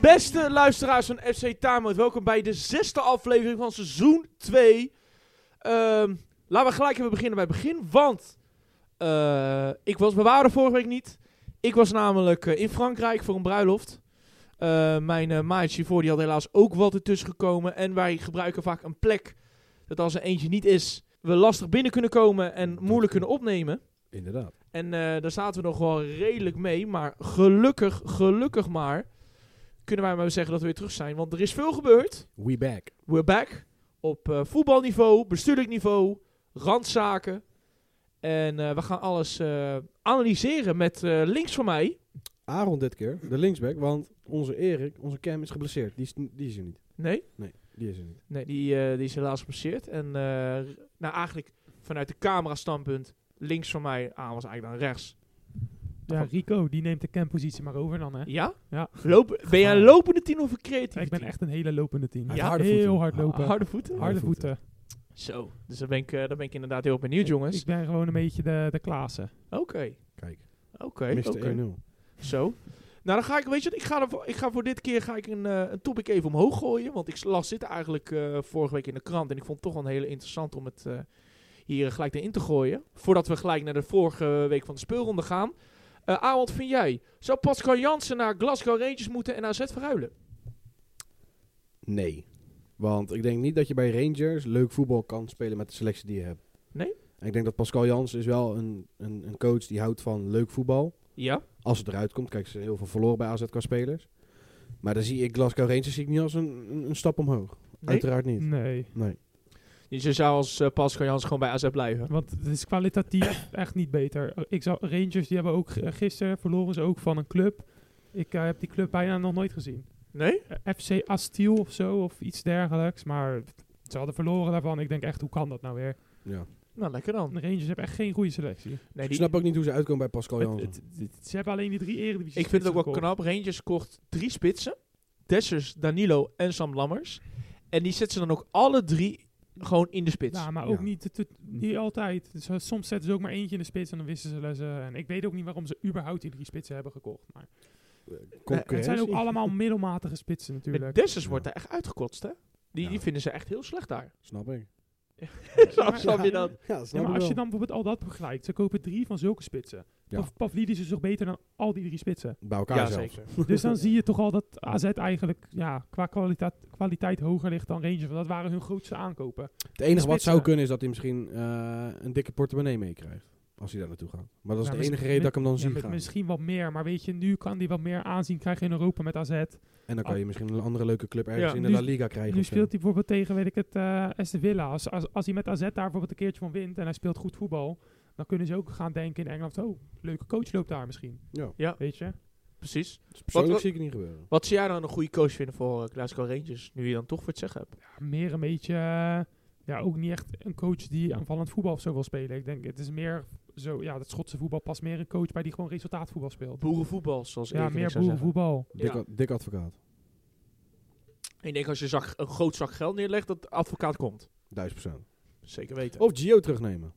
Beste luisteraars van FC Tamoot, welkom bij de zesde aflevering van seizoen 2. Ehm, laten we gelijk even beginnen bij het begin, want eh, ik was bewaren vorige week niet. Ik was namelijk eh, in Frankrijk voor een bruiloft. Eh, mijn eh, maatje voor die had helaas ook wat ertussen gekomen. En wij gebruiken vaak een plek dat als er eentje niet is, we lastig binnen kunnen komen en moeilijk kunnen opnemen. Inderdaad. En eh, daar zaten we nog wel redelijk mee. Maar gelukkig, gelukkig maar, kunnen wij maar zeggen dat we weer terug zijn. Want er is veel gebeurd. We back. We're back. Op eh, voetbalniveau, bestuurlijk niveau, randzaken. En eh, we gaan alles eh, analyseren met eh, links van mij. Aaron dit keer, de linksback, want onze Erik, onze Cam is geblesseerd. Die is, die is er niet. Nee, Nee, die is er niet. nee die, eh, die is helaas gepasseerd. En eh, nou, eigenlijk vanuit de camera standpunt, links van mij aan was eigenlijk dan rechts. Ja, Rico, die neemt de campositie maar over dan, hè? Ja? Ja. Lopen, ben jij een lopende tien of een creatieve ik ben tien? echt een hele lopende team. Hij heeft harde heel voeten. hard lopen. Harde, Harde voeten? Harde voeten. voeten. Zo, dus daar ben ik, eh, daar ben ik inderdaad heel benieuwd, Ik, jongens. ik ben gewoon een beetje de, de Klaassen. Oké, Kijk, oké, Mr. oké. 1-0. Zo. Nou, dan ga ik, weet je wat, ik ga, er voor- ik ga voor dit keer ga ik een, eh, een topic even omhoog gooien. Want ik las dit eigenlijk eh, vorige week in de krant. En ik vond het toch wel een hele interessant om het eh, hier eh, gelijk in te gooien. Voordat we gelijk naar de vorige week van de speelronde gaan. Eh Aaron, wat vind jij? Zou Pascal Jansen naar Glasgow Rangers moeten en AZ verhuilen? Nee. Want ik denk niet dat je bij Rangers leuk voetbal kan spelen met de selectie die je hebt. Nee? En ik denk dat Pascal Jans is wel een, een, een coach die houdt van leuk voetbal. Ja? Als het eruit komt. Kijk, ze hebben heel veel verloren bij AZ qua spelers. Maar dan zie ik Glasgow Rangers zie ik niet als een, een, een stap omhoog. Nee? Uiteraard niet. Nee. Nee. Dus je zou als eh, Pascal Jansen gewoon bij AZ blijven? Want het is kwalitatief echt niet beter. Ik zou, Rangers, die hebben ook g- gisteren verloren ze ook van een club. Ik eh, heb die club bijna nog nooit gezien. Nee? Eh, FC Astiel of zo, of iets dergelijks. Maar ze hadden verloren daarvan. Ik denk echt, hoe kan dat nou weer? Ja. Nou, lekker dan. De Rangers hebben echt geen goede selectie. Nee, Ik snap ook niet hoe ze uitkomen bij Pascal Het- Jans. het- het- ze hebben alleen die drie eredivisie Ik vind het ook wel gekocht. knap. Rangers kocht drie spitsen. Dessers, Danilo en Sam Lammers. En die zetten ze dan ook alle drie gewoon in de spits. Ja, maar ook Ja. niet, te- niet altijd. Dus, eh, soms zetten ze ook maar eentje in de spits en dan wisten ze ze. En ik weet ook niet waarom ze überhaupt die drie spitsen hebben gekocht. Eh, Maar het zijn ook allemaal middelmatige En spitsen natuurlijk. Dessers Ja. wordt daar echt uitgekotst, hè? Die, Ja. die vinden ze echt heel slecht daar. Snap ik. Zo snap je dat? Ja, Ja, maar als je dan bijvoorbeeld al dat vergelijkt, ze kopen drie van zulke spitsen. Ja. Pav- Pavlidis is toch beter dan al die drie spitsen. Bij elkaar Ja, zelfs. zeker. Dus dan zie je toch al dat AZ eigenlijk ja, qua kwaliteit, kwaliteit hoger ligt dan Rangers. Want dat waren hun grootste aankopen. Het enige wat Spitsen. zou kunnen is dat hij misschien eh, een dikke portemonnee meekrijgt. Als hij daar naartoe gaat. Maar dat is Ja, de misschien- enige reden dat ik hem dan Ja, zie met gaan. misschien wat meer, maar weet je, nu kan die wat meer aanzien krijgen in Europa met AZ. En dan kan je misschien een andere leuke club ergens Ja, in de Ah. nu- La Liga krijgen. Nu of zo. speelt hij bijvoorbeeld tegen, weet ik het, eh Aston Villa. Als, als, als hij met AZ daar bijvoorbeeld een keertje van wint en hij speelt goed voetbal, dan kunnen ze ook gaan denken in Engeland, oh, leuke coach loopt daar misschien. Ja, Weet je? Precies. dus persoonlijk wat- zie ik het niet gebeuren. Wat zou jij dan een goede coach vinden voor eh, Glasgow Rangers? Nu je dan toch voor het zeggen hebt. Ja, meer een beetje, eh, ja, ook niet echt een coach die aanvallend voetbal of zo wil spelen. Ik denk, het is meer zo, ja, dat Schotse voetbal past meer een coach bij die gewoon resultaatvoetbal speelt. Boerenvoetbal, zoals Ja, Erik en ik meer zou zeggen. boerenvoetbal. Dik, Ja. ad- dik advocaat. Ik denk als je zak, een groot zak geld neerlegt, dat de advocaat komt. Duizend procent. Zeker weten. Of Gio terugnemen.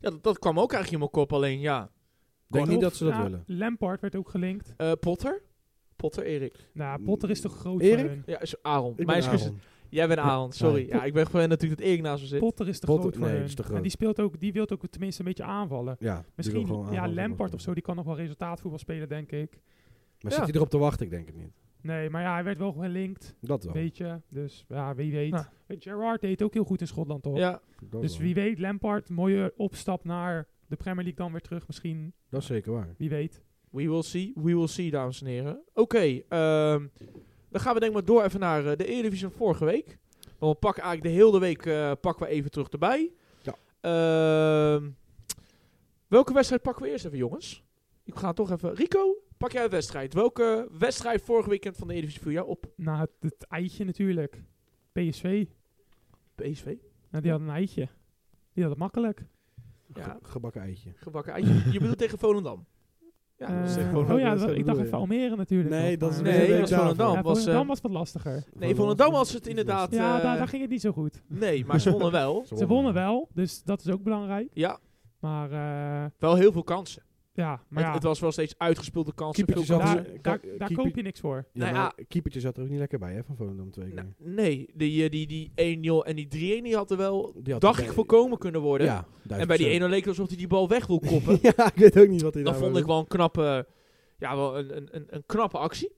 Ja, dat, dat kwam ook eigenlijk in mijn kop. Alleen ja, Ik denk niet Of, dat ze dat ja, willen. Lampard werd ook gelinkt. Eh, Potter? Potter, Erik. Nou, Potter is toch groot Mm. Erik? voor hun? Ja, is Aaron. Ik Mijn ben excuses. Aaron. Jij bent Aaron, sorry. Ja. Ja, ik ben gewend natuurlijk dat Erik naast me zit. Potter is te Potter- groot voor nee, hun. is te groot. En die speelt ook, die wilt ook tenminste een beetje aanvallen. Ja, die wil gewoon Misschien, ja, aanvallen. Lampard of zo, die kan nog wel resultaatvoetbal spelen, denk ik. Maar Ja. zit hij erop te wachten? Ik denk het niet. Nee, maar ja, hij werd wel gelinkt, Dat wel. weet je. Dus ja, wie weet. Ja. Gerard deed ook heel goed in Schotland, toch? Ja, Dat Dus wel. wie weet, Lampard, mooie opstap naar de Premier League dan weer terug misschien. Dat is zeker waar. Wie weet. we will see, we will see, dames en heren. Oké, ehm, dan gaan we denk ik maar door even naar eh, de Eredivisie van vorige week. Want we pakken eigenlijk de hele week eh, pakken we even terug erbij. Ja. Ehm, welke wedstrijd pakken we eerst even, jongens? Ik ga toch even... Rico, pak jij een wedstrijd. Welke wedstrijd vorige weekend van de Eredivisie viel jou op? Nou, het, het eitje natuurlijk. PSV. PSV? Nou, die had een eitje. Die had het makkelijk. Ja, Ge- Gebakken eitje. gebakken eitje. Je bedoelt tegen Volendam? Ja, dat is Eh, tegen gewoon oh ook ja, best dat- wel ik dacht bedoel, even ja. Almere natuurlijk. Nee, nog, dat is maar- een Nee, week dat is Volendam. Ja, was, eh, Volendam was wat lastiger. Nee, Volendam was het inderdaad... Ja, eh, daar, daar ging het niet zo goed. Nee, maar ze wonnen wel. Ze wonnen wel, dus dat is ook belangrijk. Ja, Maar eh, wel heel veel kansen. Ja, maar het, ja, het was wel steeds uitgespeelde kansen. Keepertje Veel zat kansen. er- daar, daar, Ka- daar keeper- koop je niks voor. Ja, Nou maar ja. het keepertje zat er ook niet lekker bij, hè, van Volendam twee keer. Nou, nee, die, eh, die, die 1-0 en die 3-1 die hadden wel, Die had dacht er ik, bij- voorkomen kunnen worden. Ja, en bij die 1-0 leek het alsof hij die bal weg wil koppen. ja, ik weet ook niet wat hij Dat daar eh, vond wou ik wel een knappe, ja, wel een, een, een, een knappe actie.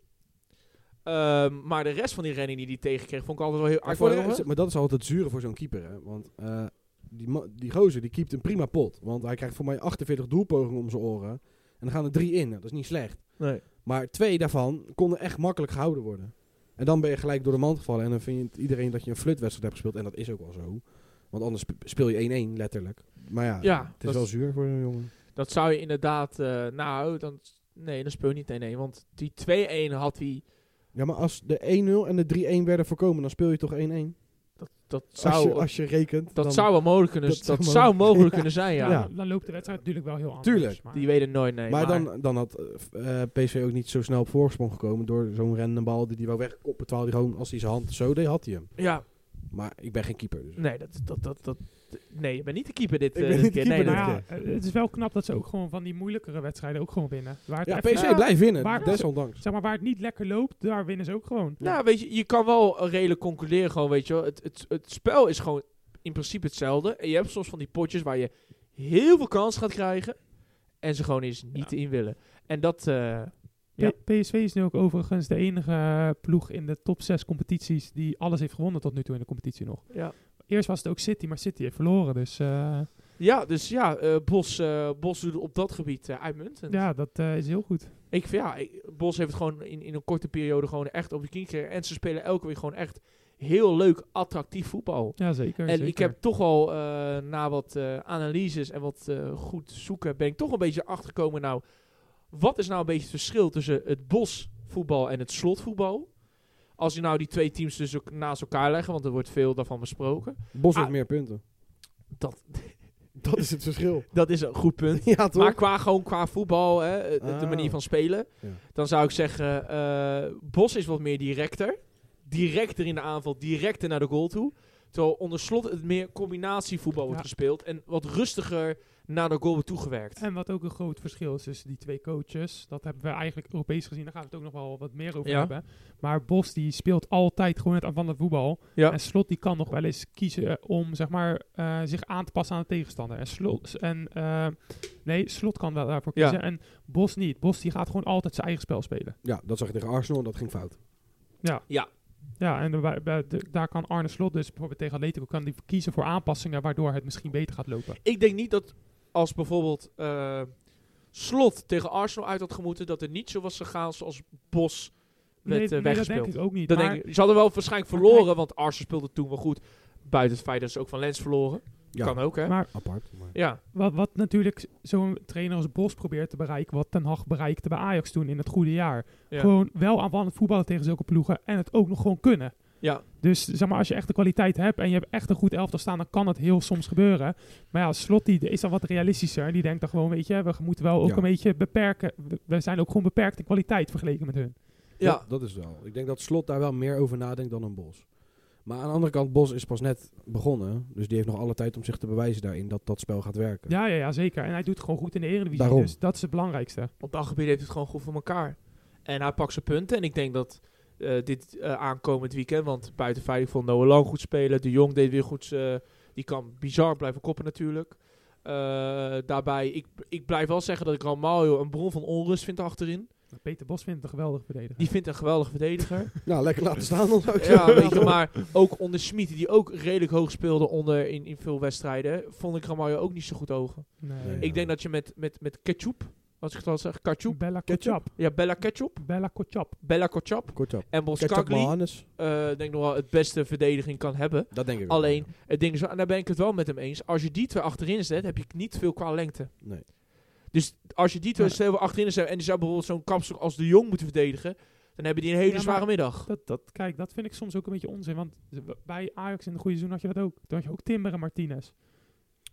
Ehm, maar de rest van die redding die hij tegenkreeg, vond ik altijd wel heel... Maar, ik vond voor de het wel- rest- maar dat is altijd het zure voor zo'n keeper. Hè? Want eh, die, ma- die gozer die keept een prima pot. Want hij krijgt voor mij 48 doelpogingen om zijn oren. En dan gaan er drie in. Nou, Dat is niet slecht. Nee. Maar twee daarvan konden echt makkelijk gehouden worden. En dan ben je gelijk door de mand gevallen. En dan vind je het- iedereen dat je een flutwedstrijd hebt gespeeld. En dat is ook wel zo. Want anders sp- speel je 1-1 letterlijk. Maar ja, Ja, het dat is wel is- zuur voor een jongen. Dat zou je inderdaad... eh, nou, dan, nee, dan speel je niet 1-1. Want die 2-1 had hij... Ja, maar als de 1-0 en de 3-1 werden voorkomen, dan speel je toch 1-1? Dat Als zou, je, als je rekent. dat dan- zou wel mogelijk kunnen, dat dat zou zou mogelijk- mogelijk kunnen zijn, ja. Ja, Ja. Dan loopt de wedstrijd natuurlijk wel heel anders. Tuurlijk. maar- Die weet het nooit, nee. maar dan, dan had eh, f- eh, PSV ook niet zo snel op voorsprong gekomen door zo'n random bal die die wou wegkoppen. Terwijl hij gewoon, als hij zijn hand zo deed, had hij hem. Ja, Maar ik ben geen keeper. Dus. nee, dat, dat, dat, dat, nee, je bent niet de keeper dit, Ik eh, ben dit niet de keer. keeper nee, dit dat- keer. Maar ja, eh, het is wel knap dat ze ook gewoon van die moeilijkere wedstrijden ook gewoon winnen. Waar het Ja, even- PSV Ja. blijft winnen, Maar- desondanks. zeg maar, waar het niet lekker loopt, daar winnen ze ook gewoon. Nou, weet je, je kan wel redelijk concluderen gewoon, weet je wel. Het, het, het spel is gewoon in principe hetzelfde. En je hebt soms van die potjes waar je heel veel kans gaat krijgen. En ze gewoon eens niet in willen. En dat, eh, Ja. P- PSV is nu ook overigens de enige eh, ploeg in de top 6 competities die alles heeft gewonnen tot nu toe in de competitie nog. ja. Eerst was het ook City, maar City heeft verloren. Dus eh, Ja, dus ja, eh, Bos, eh, Bos doet op dat gebied eh, uitmuntend. ja, dat eh, is heel goed. Ik vind, ja, ik- Bos heeft het gewoon in, in een korte periode gewoon echt op de knie gekregen. En ze spelen elke week gewoon echt heel leuk, attractief voetbal. Ja, zeker. En zeker. ik heb toch al eh, na wat eh, analyses en wat eh, goed zoeken, ben ik toch een beetje achtergekomen. Nou, wat is nou een beetje het verschil tussen het bosvoetbal en het slotvoetbal? Als je nou die twee teams dus ook naast elkaar legt, want er wordt veel daarvan besproken. Bos heeft Ah. meer punten. Dat, Dat is het verschil. dat is een goed punt. ja, toch? Maar qua, gewoon qua voetbal, hè, eh, de- de Ah. manier van spelen, Ja. dan zou ik zeggen, eh, Bos is wat meer directer. Directer in de aanval, directer naar de goal toe. Terwijl onder slot het meer combinatievoetbal wordt Ja. gespeeld en wat rustiger naar de goal wordt toegewerkt. En wat ook een groot verschil is tussen die twee coaches, dat hebben we eigenlijk Europees gezien, daar gaan we het ook nog wel wat meer over Ja. hebben. Maar Bos die speelt altijd gewoon het aanvallende voetbal. Ja. En Slot die kan nog wel eens kiezen eh, om zeg maar, eh, zich aan te passen aan de tegenstander. En Slot, en, eh, nee, Slot kan wel daarvoor Ja. kiezen en Bos niet. Bos die gaat gewoon altijd zijn eigen spel spelen. Ja, dat zag je tegen Arsenal en dat ging fout. Ja, en bij- bij- de- daar kan Arne Slot dus bijvoorbeeld tegen Atletico kan die kiezen voor aanpassingen waardoor het misschien beter gaat lopen. Ik denk niet dat als bijvoorbeeld eh, Slot tegen Arsenal uit had gemoeten, dat het niet zo was gegaan zoals Bos werd eh, dat weggespeeld. denk ik ook niet. Dan maar- denk ik, ze hadden wel waarschijnlijk maar verloren, want Arsenal speelde toen wel goed. Buiten het feit dat ze ook van Lens verloren. Ja, Kan ook, hè? maar apart. Maar... ja. Wat, wat natuurlijk zo'n trainer als Bos probeert te bereiken, wat Ten Hag bereikte bij Ajax toen in het goede jaar. Ja. Gewoon wel aanvallend voetballen tegen zulke ploegen en het ook nog gewoon kunnen. Ja. Dus zeg maar, als je echt de kwaliteit hebt en je hebt echt een goed elftal staan, dan kan het heel soms gebeuren. Maar ja, Slot die is dan wat realistischer. en Die denkt dan gewoon, weet je, we moeten wel ook Ja. een beetje beperken. We- We zijn ook gewoon beperkt in kwaliteit vergeleken met hun. Ja. Dat is wel. Ik denk dat Slot daar wel meer over nadenkt dan een Bos. Maar aan de andere kant, Bos is pas net begonnen. Dus die heeft nog alle tijd om zich te bewijzen daarin dat dat spel gaat werken. Ja, ja, ja, zeker. En hij doet het gewoon goed in de Eredivisie. Daarom. Dus dat is het belangrijkste. Op dat gebied heeft het gewoon goed voor elkaar. En hij pakt zijn punten. En ik denk dat eh, dit eh, aankomend weekend, want buiten veilig vond Noah Lang goed spelen. De Jong deed weer goed. eh, die kan bizar blijven koppen natuurlijk. Eh, daarbij, ik, ik blijf wel zeggen dat ik Ramalho een bron van onrust vind achterin. Peter Bos vindt het een geweldig verdediger. Die vindt een geweldige verdediger. Nou, lekker laten staan dan zou ik Ja, zeggen. weet je, maar ook onder Smit, die ook redelijk hoog speelde onder in, in veel wedstrijden, vond ik Ramalho ook niet zo goed ogen. Nee. Nee. Ik denk dat je met, met, met Ketchup, als ik het wel zeg, Ketchup, Bella Ketchup. Kotchap. ja, Bella Ketchup, Bella Kotchap. Bella Kotchap Kort op. en Ketchup Boskakli, Mahannes. eh denk nog wel het beste verdediging kan hebben. Dat denk ik ook Alleen, wel. het ding is, wel- en daar ben ik het wel met hem eens, als je die twee achterin zet, heb je niet veel qua lengte. Nee. Dus als je die twee Ja. stel achterin zet en die zou bijvoorbeeld zo'n kapstok als de Jong moeten verdedigen, dan hebben die een hele Ja, maar- zware middag. Dat, dat, kijk, dat vind ik soms ook een beetje onzin. Want bij Ajax in de goede seizoen had je dat ook. Toen had je ook Timber en Martinez. Plus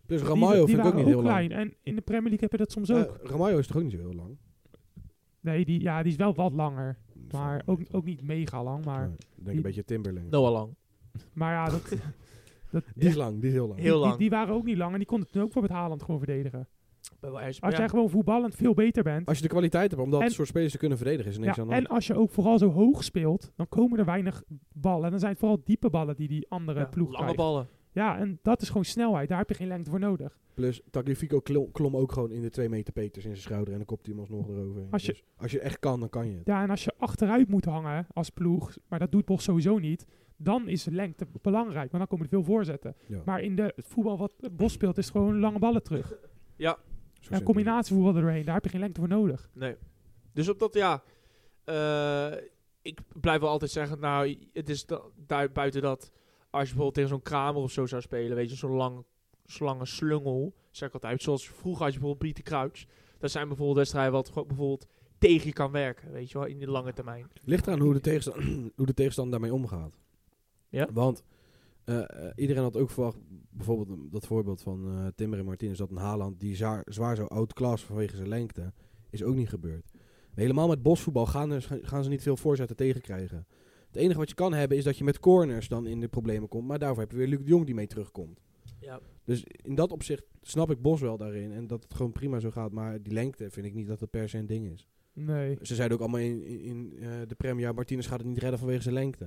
Die- Dus Ramalho die vind ik ook waren niet heel lang. klein. En in de Premier League heb je dat soms ook. Eh, Ramalho is toch ook niet zo heel lang? Nee, die, ja, die is wel wat langer. Maar ook, ook niet mega lang. Maar, Nee, ik denk een beetje Timberling. Noah Lang. maar ja, dat, Die is lang, die is heel lang. Heel die, lang. die waren ook niet lang. En die konden toen ook voor het Haaland gewoon verdedigen. Bij wel ergens- Als ja. jij gewoon voetballend veel beter bent. Als je de kwaliteit hebt om dat En- soort spelers te kunnen verdedigen, is er niks ja, aan de hand. en als je ook vooral zo hoog speelt, dan komen er weinig ballen. En dan zijn het vooral diepe ballen die die andere Ja, ploeg Lange krijgt. ballen. Ja, en dat is gewoon snelheid. Daar heb je geen lengte voor nodig. Plus, Tagliafico klom, klom ook gewoon in de 2 meter peters in zijn schouder en dan kopt hij hem alsnog erover. Als je- Dus als je echt kan, dan kan je het. Ja, en als je achteruit moet hangen als ploeg, maar dat doet Bos sowieso niet, dan is lengte belangrijk, want dan komen er veel voorzetten. Ja. Maar in de, het voetbal wat Bos speelt, is het gewoon lange ballen terug. Zo En simpel is het. combinatievoetbal er doorheen, daar heb je geen lengte voor nodig. Nee. Dus op dat, ja... eh, ik blijf wel altijd zeggen, nou, het is da- daar buiten dat... Als je bijvoorbeeld tegen zo'n kramer of zo zou spelen, weet je, zo'n lang, zo'n lange slungel, zeg ik altijd. Zoals vroeger had je bijvoorbeeld Pieter Crouch. Dat zijn bijvoorbeeld wedstrijden wat gewoon bijvoorbeeld tegen je kan werken, weet je wel, in de lange termijn. Ligt eraan hoe de, tegenstand, hoe de tegenstander daarmee omgaat. Ja. Want eh, eh, iedereen had ook verwacht, bijvoorbeeld een- dat voorbeeld van eh Timber en Martinez, dat een Haaland die zwaar, zwaar zo outclass vanwege zijn lengte, is ook niet gebeurd. Helemaal met bosvoetbal gaan, er, gaan ze niet veel voorzetten tegenkrijgen. Het enige wat je kan hebben is dat je met corners dan in de problemen komt, maar daarvoor heb je weer Luc de Jong die mee terugkomt. Ja. Dus in dat opzicht snap ik Bos wel daarin en dat het gewoon prima zo gaat, maar die lengte vind ik niet dat het per se een ding is. Nee. Ze zeiden ook allemaal in, in, in, eh, de Premier, ja, Martinez gaat het niet redden vanwege zijn lengte.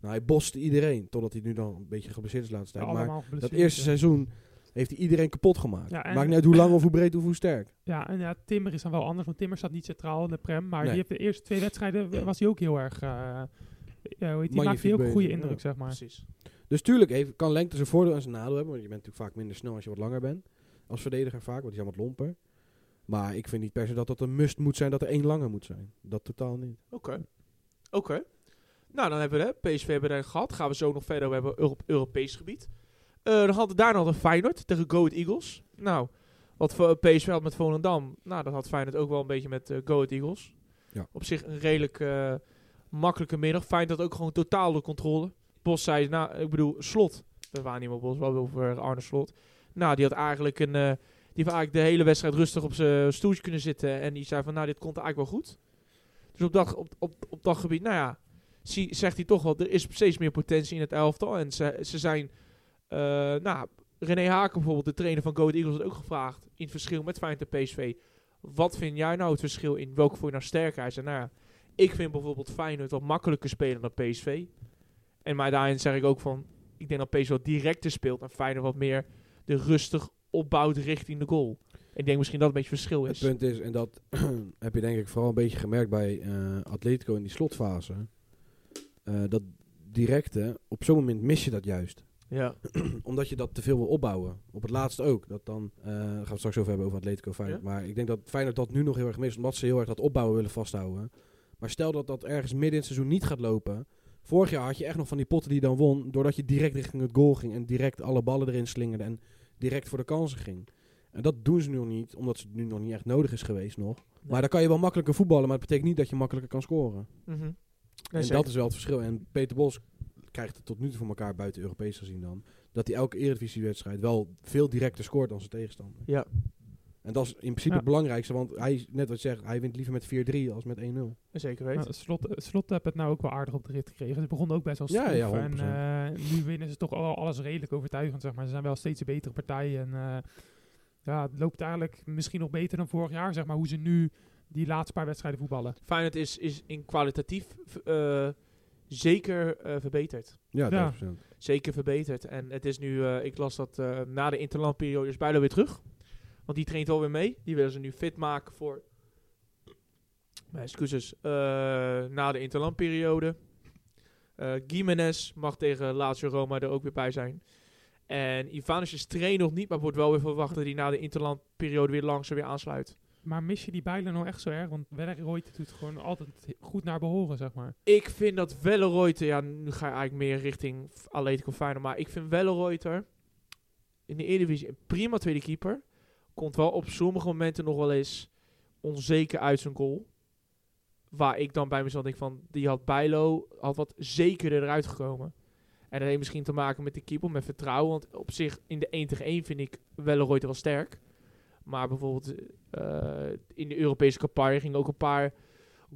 Nou, hij boste iedereen, totdat hij nu dan een beetje geblesseerd is laatst. tijd. maar allemaal dat geblesseerd, eerste ja. seizoen heeft hij iedereen kapot gemaakt. Ja, en- Maakt niet uit hoe lang of hoe breed of hoe sterk. Ja, en ja, Timmer is dan wel anders, want Timmer staat niet centraal in de prem. Maar Nee. die heeft de eerste twee wedstrijden w- was hij ook heel erg. eh, ja, hoe heet die maakte Magnifiek hij ook een goede bezig, indruk, ja. zeg maar. Precies. Dus tuurlijk heeft, kan lengte zijn voordeel en zijn nadeel hebben. Want je bent natuurlijk vaak minder snel als je wat langer bent. Als verdediger vaak, want die zijn wat lomper. Maar ik vind niet per se dat dat een must moet zijn dat er één langer moet zijn. Dat totaal niet. Oké. Oké. Nou, dan hebben we de PSV hebben we daar gehad. Gaan we zo nog verder hebben op Europees gebied. Eh, dan hadden we daarna nog een Feyenoord tegen Go Ahead Eagles. Nou, wat voor PSV had met Volendam. Nou, dat had Feyenoord ook wel een beetje met eh, Go Ahead Eagles. Ja. Op zich een redelijk eh, makkelijke middag. Feyenoord had ook gewoon totaal de controle. Bos zei, nou, ik bedoel, Slot. We waren niet meer op Bos, we hadden het over Arne Slot. Nou, die had eigenlijk een... eh, die heeft eigenlijk de hele wedstrijd rustig op zijn stoeltje kunnen zitten. En die zei van, nou, dit komt eigenlijk wel goed. Dus op dat, op, op, op dat gebied, nou ja, zie, zegt hij toch wel, er is steeds meer potentie in het elftal. En ze, ze zijn, eh, nou, René Haken bijvoorbeeld, de trainer van Go Ahead Eagles, had ook gevraagd in het verschil met Feyenoord en PSV. Wat vind jij nou het verschil in welke voor je nou sterker? Hij zei, nou ja, ik vind bijvoorbeeld Feyenoord wat makkelijker spelen dan PSV. En maar daarin zeg ik ook van, ik denk dat PSV wat directer speelt en Feyenoord wat meer de rustig opbouwt richting de goal. Ik denk misschien dat het een beetje verschil Het is. punt is, en dat heb je denk ik vooral een beetje gemerkt bij eh, Atletico in die slotfase. eh, dat directe, op zo'n moment mis je dat juist. Ja, Omdat je dat te veel wil opbouwen. Op het laatst ook. Dat dan, eh, gaan we het straks over hebben over Atletico Feyenoord. Maar ik denk dat Feyenoord dat nu nog heel erg mist. Omdat ze heel erg dat opbouwen willen vasthouden. Maar stel dat dat ergens midden in het seizoen niet gaat lopen. Vorig jaar had je echt nog van die potten die je dan won. Doordat je direct richting het goal ging. En direct alle ballen erin slingerde. En direct voor de kansen ging. En dat doen ze nu nog niet. Omdat het nu nog niet echt nodig is geweest nog. Maar dan kan je wel makkelijker voetballen. Maar dat betekent niet dat je makkelijker kan scoren. Mhm. Nee, en zeker. dat is wel het verschil. En Peter Bos krijgt het tot nu toe voor elkaar buiten Europees gezien dan. Dat hij elke eredivisiewedstrijd wel veel directer scoort dan zijn tegenstander. Ja. En dat is in principe Ja. het belangrijkste. Want hij, net wat je zegt, hij wint liever met 4-3 als met 1-0. Zeker Nou, weten. slot, slot heb het nou ook wel aardig op de rit gekregen. Ze begonnen ook best wel Ja, stroef. ja, en 100%. eh, nu winnen ze toch al alles redelijk overtuigend, zeg maar. Ze zijn wel steeds een betere partij. En eh, ja, het loopt eigenlijk misschien nog beter dan vorig jaar, zeg maar. Hoe ze nu die laatste paar wedstrijden voetballen. Feyenoord is, is in kwalitatief v- eh, zeker eh, verbeterd. Ja, Ja. 30%. Zeker verbeterd. En het is nu, eh, ik las dat eh, na de interlandperiode is Bijlo weer terug. Want die traint alweer mee. Die willen ze nu fit maken voor, mijn excuses, eh, na de interlandperiode. Eh Gimenez mag tegen Lazio Roma er ook weer bij zijn. En Ivanus is train nog niet, maar wordt wel weer verwacht dat hij na de interlandperiode weer langzaam weer aansluit. Maar mis je die bijlen nou echt zo erg? Want Werner doet het gewoon altijd goed naar behoren, zeg maar. Ik vind dat Welleroyter... Ja, nu ga ik eigenlijk meer richting F- Atletico Feyenoord. Maar ik vind Welleroyter in de Eredivisie een prima tweede keeper. Komt wel op sommige momenten nog wel eens onzeker uit zijn goal. Waar ik dan bij mezelf denk van... Die had Bijlo had wat zekerder eruit gekomen. En dat heeft misschien te maken met de keeper, met vertrouwen. Want op zich in de 1 tegen 1 vind ik Welleroyter wel sterk. Maar bijvoorbeeld eh, in de Europese campagne ging ook een paar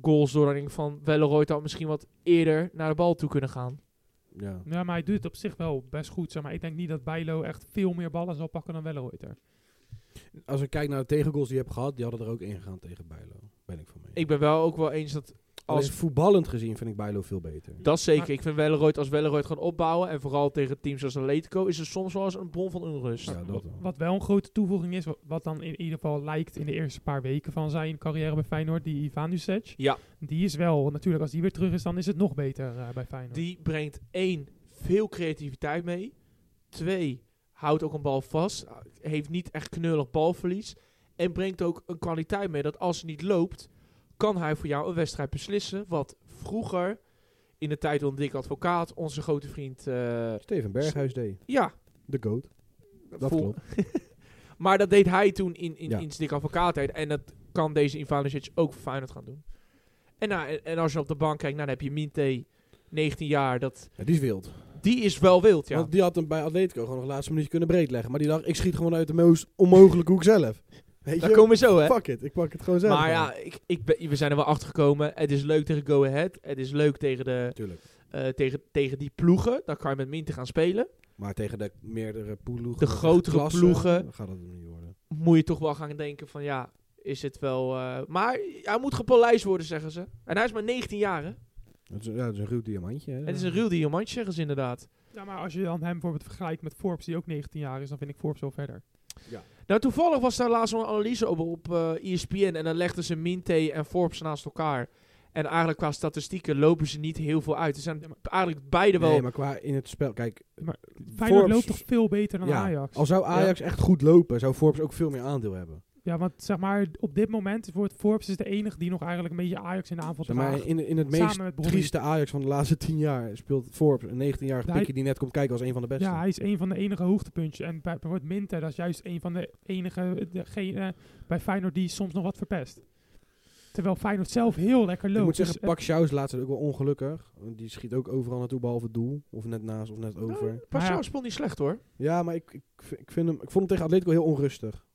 goals door. Dan denk ik van Welleroy had misschien wat eerder naar de bal toe kunnen gaan. Ja. Ja, maar hij doet het op zich wel best goed, zeg maar. Ik denk niet dat Bijlo echt veel meer ballen zal pakken dan Wellenreuter. Als ik kijk naar de tegengoals die je hebt gehad, die hadden er ook ingegaan tegen Bijlo. Ben ik van mee. Ik ben wel ook wel eens dat Als als... voetballend gezien vind ik Bijlo veel beter. Dat zeker. Maar- Ik vind Welleroyd als Welleroyd gaan opbouwen. En vooral tegen teams als Atletico is het soms wel eens een bron van onrust. Ja, dat wel. Wat wel een grote toevoeging is, wa- wat dan in ieder geval lijkt in de eerste paar weken van zijn carrière bij Feyenoord, die Ivanusic. Ja. Die is wel, natuurlijk als die weer terug is, dan is het nog beter eh, bij Feyenoord. Die brengt één, veel creativiteit mee. Twee, houdt ook een bal vast. Heeft niet echt knullig balverlies. En brengt ook een kwaliteit mee dat als het niet loopt, kan hij voor jou een wedstrijd beslissen. Wat vroeger, in de tijd van Dick Advocaat, onze grote vriend... eh, Steven Berghuis deed. ja, De goat. Dat vol- klopt. Maar dat deed hij toen in, in, Ja. in zijn dikke advocaatheid. En dat kan deze Ivanovic ook voor Feyenoord gaan doen. En, nou, en, en als je op de bank kijkt, nou, dan heb je Minte, 19 jaar. Dat, Ja, die is wild. die is wel wild, ja. Want die had hem bij Atletico gewoon nog de laatste minuut kunnen breedleggen. Maar die dacht, ik schiet gewoon uit de meest onmogelijke hoek zelf. Weet Daar je? komen we zo, hè. Fuck it, ik pak het gewoon zelf. Maar ja, ik, ik ben- we zijn er wel achter gekomen. Het is leuk tegen Go Ahead. Het is leuk tegen, de, Natuurlijk. eh, tegen, tegen die ploegen. Dan kan je met Minte gaan spelen. Maar tegen de meerdere ploegen. eh, De grotere klassen, ploegen. dan gaat dat hem niet worden. Moet je toch wel gaan denken van, ja, is het wel... eh, maar hij moet gepolijst worden, zeggen ze. En hij is maar 19 jaar, hè. Het is, ja, het is een ruw diamantje. Hè? Het is een ruw diamant, zeggen ze inderdaad. Ja, maar als je dan hem bijvoorbeeld vergelijkt met Forbes, die ook 19 jaar is, dan vind ik Forbes wel verder. Nou, toevallig was daar laatst nog een analyse op op eh ESPN. En dan legden ze Minte en Forbes naast elkaar. En eigenlijk qua statistieken lopen ze niet heel veel uit. Ze zijn Ja, maar- eigenlijk beide wel... Nee, maar qua in het spel. Kijk, eh, Feyenoord Forbes- loopt toch veel beter dan ja, Ajax? al zou Ajax echt goed lopen, zou Forbes ook veel meer aandeel hebben. Ja, want zeg maar, op dit moment wordt Forbes is de enige die nog eigenlijk een beetje Ajax in de aanval Zeg maar draagt. in, in het meest Samen met Bobby. trieste Ajax van de laatste tien jaar speelt Forbes een 19-jarige Hij- pikje die net komt kijken als een van de beste. Ja, hij is een van de enige hoogtepuntjes. En bij wordt Minter, dat is juist een van de enige degene eh, bij Feyenoord die soms nog wat verpest. Terwijl Feyenoord zelf heel lekker loopt. ik moet Dus, zeggen, eh, Pak Sjouw is laatst ook wel ongelukkig. Want Die schiet ook overal naartoe, behalve het doel. Of net naast, of net Oh. over. Maar Maar Sjouw ja. speelt niet slecht, hoor. Ja, maar ik, ik, v- ik, vind hem, ik vond hem tegen Atletico heel onrustig.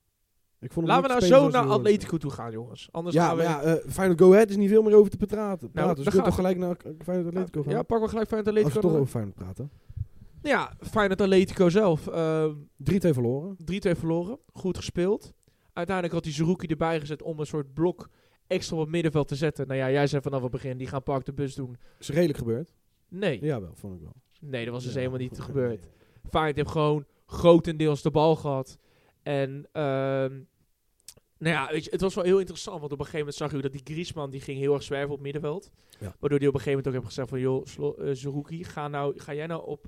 Ik vond hem Laten we niet nou zo spelen zoals naar hij hoort. Atletico toe gaan, jongens. Anders Ja, gaan we... maar ja, eh, Feyenoord Go Ahead is niet veel meer over te praten. praten. daar dus ik wil gaat- toch gelijk naar eh, Feyenoord Atletico gaan. Ja, pak wel gelijk Feyenoord Als we Atletico. toch dan- over Feyenoord praten. Ja, Feyenoord Atletico zelf. eh, 3-2 verloren. 3-2 verloren. Goed gespeeld. Uiteindelijk had hij Zerouki erbij gezet om een soort blok extra op het middenveld te zetten. Nou ja, jij zei vanaf het begin, die gaan Park de Bus doen. Is redelijk gebeurd. Nee. Jawel, vond ik wel. Nee, dat was dus Ja, helemaal niet goed. gebeurd. Feyenoord heeft gewoon grotendeels de bal gehad. En ehm, nou ja, weet je, het was wel heel interessant. Want op een gegeven moment zag je ook dat die Griezmann die ging heel erg zwerven op middenveld. Ja. Waardoor die op een gegeven moment ook heeft gezegd van... joh, Slo- eh, Zerouki, ga, nou, ga jij nou op,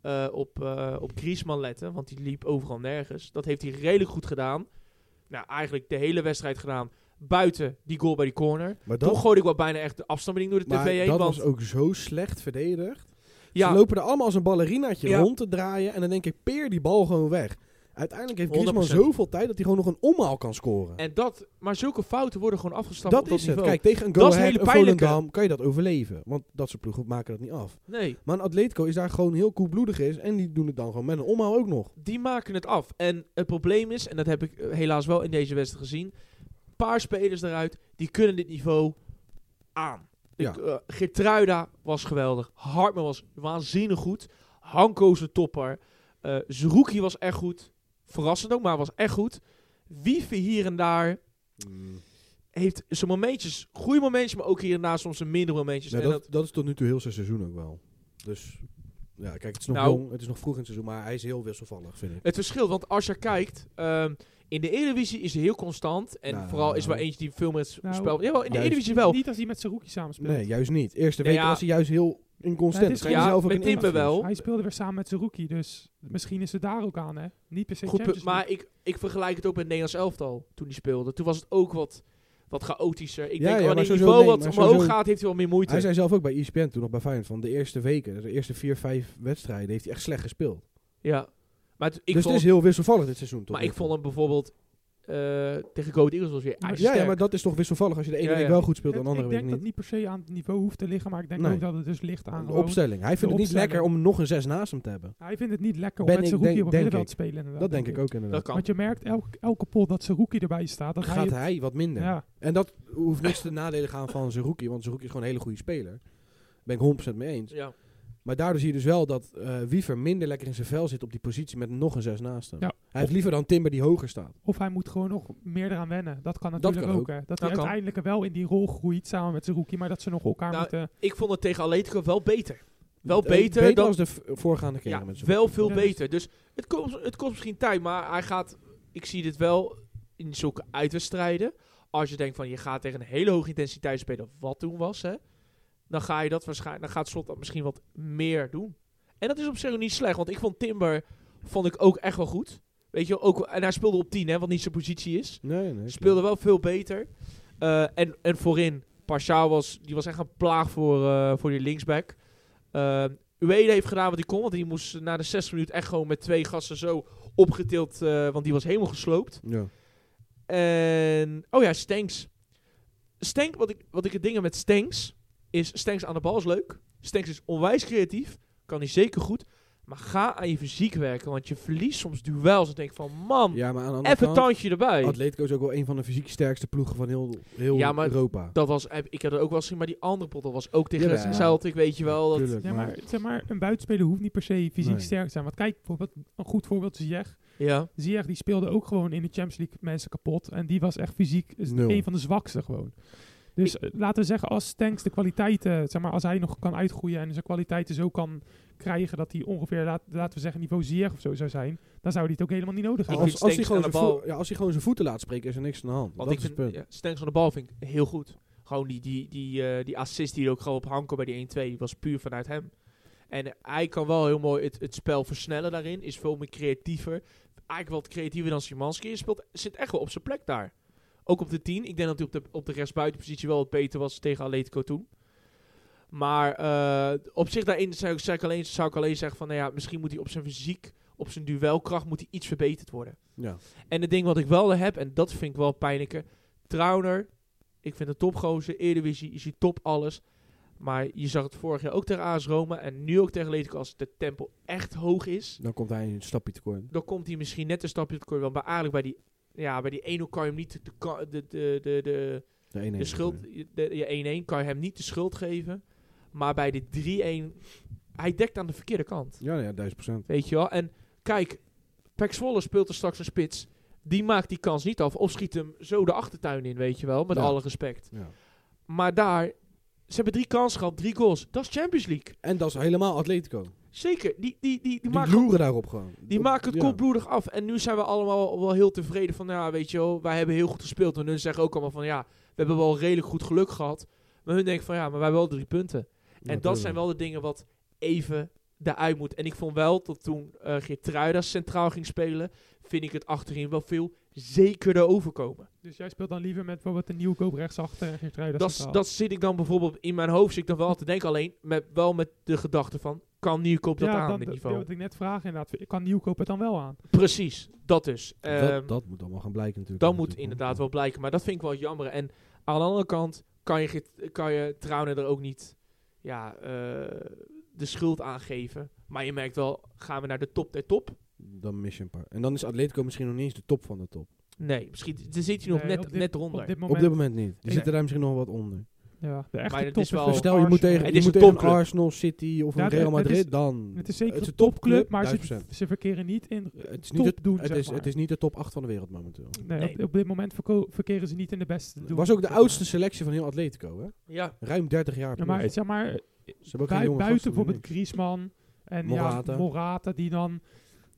eh, op, eh, op Griezmann letten? Want die liep overal nergens. Dat heeft hij redelijk goed gedaan. Nou, eigenlijk de hele wedstrijd gedaan. Buiten die goal bij die corner. Maar Toen dat, gooide ik wel bijna echt de afstandsbediening door de maar tv heen. dat want, was ook zo slecht verdedigd. Ze ja, lopen er allemaal als een ballerinaatje Ja. rond te draaien. En dan denk ik, peer die bal gewoon weg. Uiteindelijk heeft Griezmann 100%. zoveel tijd dat hij gewoon nog een omhaal kan scoren. En dat, maar zulke fouten worden gewoon afgestapt dat op dat is het. niveau. Kijk, tegen een Dat is Go een Ahead, hele een pijnlijke. Volendam kan je dat overleven. Want dat soort ploegen maken dat niet af. Nee, Maar een Atletico is daar gewoon heel koelbloedig is. En die doen het dan gewoon met een omhaal ook nog. die maken het af. En het probleem is, en dat heb ik eh, helaas wel in deze wedstrijd gezien, een paar spelers eruit, die kunnen dit niveau aan. Ja. Ik, eh, Geertruida was geweldig. Hartman was waanzinnig goed. Hanko is een topper. Eh Zerouki was echt goed. Verrassend ook, maar was echt goed. Wieven hier en daar heeft zijn momentjes, goede momentjes, maar ook hier en daar soms zijn mindere momentjes. Nou, en dat, dat is tot nu toe heel zijn seizoen ook wel. Dus ja, kijk, het is nog, Nou. jong, het is nog vroeg in het seizoen. Maar hij is heel wisselvallig, vind ik. Het verschil, want als je kijkt, ehm, in de Eredivisie is hij heel constant. En Nou. vooral is er wel eentje die veel meer Nou, spel. Jawel, in de juist. Eredivisie wel. Niet als hij met Saruki samen speelt. Nee, juist niet. Eerste Nou week ja. was hij juist heel Ja, inconstant. het is Dat zei hij ja, zelf ook met in Timber interviews. wel. Hij speelde weer samen met Saruki, dus misschien is het daar ook aan, hè? Niet per se Goed, punt, Champions maar ik, ik vergelijk het ook met het Nederlands elftal toen hij speelde. Toen was het ook wat, wat chaotischer. Ik Ja, ja, denk, maar wanneer het sowieso- niveau nee, wat maar omhoog sowieso- gaat, heeft hij wel meer moeite. Hij zei zelf ook bij E ESPN toen nog bij Feyenoord van de eerste weken, de eerste vier, vijf wedstrijden heeft hij echt slecht gespeeld. ja. Maar het- ik dus vond, het is heel wisselvallig dit seizoen. Tot maar nu ik toe. vond hem bijvoorbeeld eh, tegen Go Ahead Eagles was weer Ja, ja, ijzersterk. ja, maar dat is toch wisselvallig als je de ene Ja, week ja. wel goed speelt League. en de Het- andere ik week denk dat niet. het niet per se aan het niveau hoeft te liggen, maar ik denk Nee. ook dat het dus ligt aan De gewoon- opstelling. Hij vindt het niet opstelling. lekker om nog een zes naast hem te hebben. Hij vindt het niet lekker om Ben met ik, Saruki denk- op het denk middenveld ik. te spelen. inderdaad, Dat denk ik ook inderdaad. dat kan. Want je merkt elke, elke pot dat Saruki erbij staat. Dat Gaat hij, hij wat minder. ja, En dat hoeft niks te nadelen gaan van Zerouki, want Zerouki is gewoon een hele goede speler. Ben ik 100% mee eens. Ja. Maar daardoor zie je dus wel dat eh, Wiever minder lekker in zijn vel zit op die positie met nog een zes naast hem. Ja. Hij heeft liever dan Timber die hoger staat. Of hij moet gewoon nog meer eraan wennen. Dat kan natuurlijk kan ook. ook. hè. Dat Dat hij kan. uiteindelijk wel in die rol groeit samen met zijn rookie. Maar dat ze nog elkaar Nou, moeten... Ik vond het tegen Atletico wel beter. Wel Eh, beter, beter dan... als de v- voorgaande keren ja, met z'n wel veel Ja, dus- beter. Dus het kost, het kost misschien tijd, maar hij gaat... Ik zie dit wel in zulke uitwedstrijden. Als je denkt van je gaat tegen een hele hoge intensiteit spelen, wat toen was, hè, dan ga je dat waarschijnlijk, dan gaat Slot dat misschien wat meer doen. En dat is op zich ook niet slecht, want ik vond Timber vond ik ook echt wel goed. Weet je, ook, en hij speelde op 10, hè, wat niet zijn positie is. Nee, nee. Speelde wel veel beter. Eh, en, en voorin, Pashaal was, die was echt een plaag voor, eh, voor die linksback. Eh Ueda heeft gedaan wat hij kon, want die moest na de 60 minuten echt gewoon met twee gasten zo opgetild, eh, want die was helemaal gesloopt. Ja. En, oh ja, Stenks. Stenks, wat ik, wat ik het dingen met Stenks, is Stenks aan de bal is leuk. Stenks is onwijs creatief, kan hij zeker goed. Maar ga aan je fysiek werken, want je verliest soms duels en denk van, man, ja, maar aan de andere even kant, een tandje erbij. Atletico is ook wel een van de fysiek sterkste ploegen van heel, heel Ja, maar Europa. Dat was, heb- ik heb het ook wel gezien, maar die andere pot dat was ook tegen Ja, de ja. Celtic, weet je wel. Dat, Tuurlijk, Ja, maar, zeg maar, een buitenspeler hoeft niet per se fysiek Nee. sterk te zijn. Want kijk, bijvoorbeeld, een goed voorbeeld is Jech. ja. Ziyech die speelde ook gewoon in de Champions League mensen kapot. En die was echt fysiek is Nul. een van de zwakste gewoon. Dus eh, laten we zeggen, als Stanks de kwaliteiten, zeg maar, als hij nog kan uitgroeien en zijn kwaliteiten zo kan krijgen dat hij ongeveer, laat, laten we zeggen, niveau Ziyech of zo zou zijn, dan zou hij het ook helemaal niet nodig Ik hebben. vind als, als, hij Stenks gewoon aan zijn de vo- bal- ja, als hij gewoon zijn voeten laat spreken, is er niks aan de hand. Want dat ik is het vind, punt. ja, Stenks aan de bal vind ik heel goed. Gewoon die, die, die, eh, die assist die hij ook gewoon op Hanko bij die 1-2, die was puur vanuit hem. En eh, hij kan wel heel mooi het, het spel versnellen daarin, is veel meer creatiever. Eigenlijk wel creatiever dan Szymanski. Hij speelt, zit echt wel op zijn plek daar. Ook op de 10. Ik denk dat hij op de, op de rechtsbuitenpositie wel wat beter was tegen Atletico toen. Maar eh, op zich daarin zou ik, zou, ik alleen, zou ik alleen zeggen van, nou ja, misschien moet hij op zijn fysiek, op zijn duelkracht, moet hij iets verbeterd worden. Ja. En het ding wat ik wel heb, en dat vind ik wel pijnlijker. Trauner, ik vind een topgozer. Eredivisie, je ziet top alles. Maar je zag het vorig jaar ook tegen AS Roma. En nu ook tegen Atletico. Als de tempo echt hoog is, Dan komt hij een stapje tekort. dan komt hij misschien net een stapje tekort. Want bij eigenlijk bij die, ja, bij die 1-0 kan je hem niet de, ka- de, de, de, de, De 1-1. de schuld... De, je 1-1 kan je hem niet de schuld geven. Maar bij de 3-1... Hij dekt aan de verkeerde kant. Ja, ja, 1000 procent. Weet je wel? En kijk, Pek Zwolle speelt er straks een spits. Die maakt die kans niet af. Of schiet hem zo de achtertuin in, weet je wel. Met Ja. alle respect. Ja. Maar daar, ze hebben drie kansen gehad, drie goals. Dat is Champions League. En dat is helemaal Atletico. Die, Zeker. Die, die, die, die, maken, loeren daarop gewoon. die maken het Ja. koelbloedig af. En nu zijn we allemaal wel heel tevreden van, nou, weet je wel, wij hebben heel goed gespeeld. En hun zeggen ook allemaal van, ja, we hebben wel redelijk goed geluk gehad. Maar hun denken van, ja, maar wij hebben wel drie punten. En dat Natuurlijk. zijn wel de dingen wat even eruit moet. En ik vond wel dat toen eh Geertruida centraal ging spelen, vind ik het achterin wel veel zekerder overkomen. Dus jij speelt dan liever met bijvoorbeeld een nieuwe koop rechtsachter en Geertruida Dat, s- centraal. dat zit ik dan bijvoorbeeld in mijn hoofd, zit ik dan wel te denken. Alleen met, wel met de gedachte van, kan Nieuwkoop dat aan, dan, dit dat- niveau? dat wil ik net vragen inderdaad. Kan Nieuwkoop het dan wel aan? Precies, dat dus. Ehm, dat, dat moet allemaal gaan blijken natuurlijk. Dan moet Natuurlijk. inderdaad wel blijken. Maar dat vind ik wel jammer. En aan de andere kant kan je, Git- kan je Trouwner er ook niet ja, eh, de schuld aan geven. Maar je merkt wel, gaan we naar de top der top? Dan mis je een paar. En dan is Atletico misschien nog niet eens de top van de top. Nee, misschien daar zit hij nog Nee, net, op dit- net ronder. Op dit Op moment. dit moment niet. Die Nee. zitten daar misschien nog wat onder. ja, de echte Maar het top is wel- Maar Oh, stel, je moet Arsenal. tegen, Het je is moet een tegen topclub. Arsenal, City of Ja, een het- Real het Madrid, is- dan... Het is zeker het is een topclub, maar ze, 1000%. ze verkeren niet in Het is niet, top het, doen, het, zeg is, maar. het is niet de top 8 van de wereld momenteel. Nee, Nee. Op, op dit moment verko- verkeren ze niet in de beste Het doen, was ook de zeg oudste selectie van heel Atletico, hè? Ja, Ruim 30 jaar. maar. Ja, maar plus. zeg maar, Ze hebben ook geen bui- jonge buiten gasten meer, bijvoorbeeld Griezmann en Morata. Ja, Morata, die dan...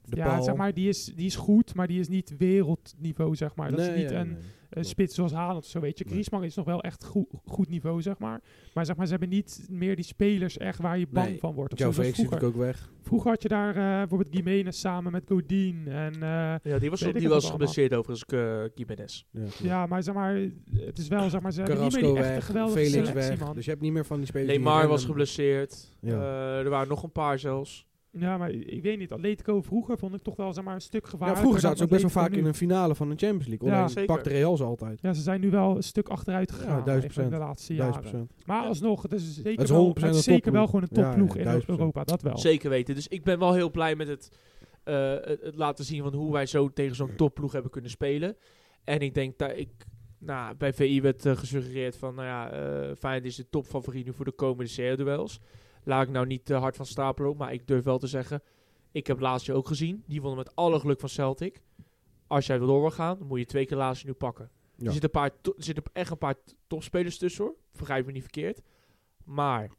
De ja, Paul. zeg maar, die is, die is goed, maar die is niet wereldniveau, zeg maar. Dat Nee, is niet ja, een nee. eh, spits zoals Haaland of zo, weet je. Nee. Griezmann is nog wel echt goe- goed niveau, zeg maar. Maar zeg maar, ze hebben niet meer die spelers echt waar je bang Nee, van wordt. Of Joe zo. Zoals Felix is vroeger. natuurlijk ook weg. vroeger had je daar eh, bijvoorbeeld Gimenez samen met Godin en... eh, ja die was, Weet ik die het was allemaal. geblesseerd overigens, eh Gimenez. Ja, Ja, maar zeg maar, het is wel zeg maar, ze hebben niet meer Carrasco die echte weg, geweldige Felix selectie, weg. man. Dus je hebt niet meer van die spelers. die Neymar random- was geblesseerd. Ja. Eh, er waren nog een paar zelfs. Ja, maar ik weet niet, Atletico vroeger vond ik toch wel zeg maar een stuk Ja, gevaarlijker. vroeger zaten ze dan ook best wel vaak Atletico in nu. een finale van de Champions League. Ja, Alleen zeker. pakte Real ze altijd. Ja, ze zijn nu wel een stuk achteruit gegaan duizend even in de procent. laatste jaren. 1000 procent. Maar alsnog, het is zeker, is wel, 100% het is een zeker topploeg. wel gewoon een Ja, ja, topploeg in 1000%. Europa, dat wel. Zeker weten. Dus ik ben wel heel blij met het, eh, het, het laten zien van hoe wij zo tegen zo'n topploeg hebben kunnen spelen. En ik denk dat ik. Nou, bij VI werd eh, gesuggereerd van, nou ja, eh Feyenoord is de topfavoriet nu voor de komende CR-duels. Laat ik nou niet te hard van stapelen, maar ik durf wel te zeggen. Ik heb Lazio ook gezien. Die wonnen met alle geluk van Celtic. Als jij door wil gaan, dan moet je twee keer Lazio nu pakken. Ja. Er zitten, een paar to- er zitten echt een paar t- topspelers tussen hoor. Vergrijp me niet verkeerd. Maar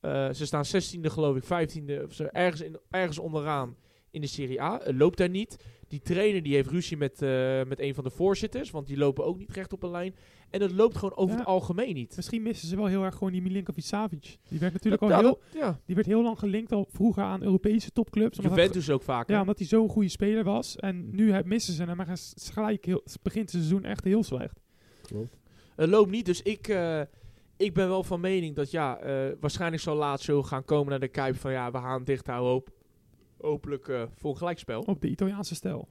eh, ze staan 16e geloof ik, 15e. Of zo, ergens, in, ergens onderaan in de Serie A. Eh, loopt daar niet. Die trainer die heeft ruzie met, eh, met een van de voorzitters. Want die lopen ook niet recht op een lijn. En het loopt gewoon over Ja. het algemeen niet. Misschien missen ze wel heel erg gewoon die Milinkovic-Savic. Die werd natuurlijk al Ja, heel, dat- ja. die werd heel lang gelinkt al vroeger aan Europese topclubs. omdat dat- Juventus ook vaker. Ja, omdat hij zo'n goede speler was. En nu heb- missen ze hem. Maar hij is gelijk heel, begint het seizoen echt heel slecht. Klopt. Het loopt niet, dus ik, eh, ik ben wel van mening dat ja, eh, waarschijnlijk zal Lazio gaan komen naar de Kuip van ja, we gaan het dicht houden hoop, hopelijk eh, voor een gelijkspel Op de Italiaanse stijl.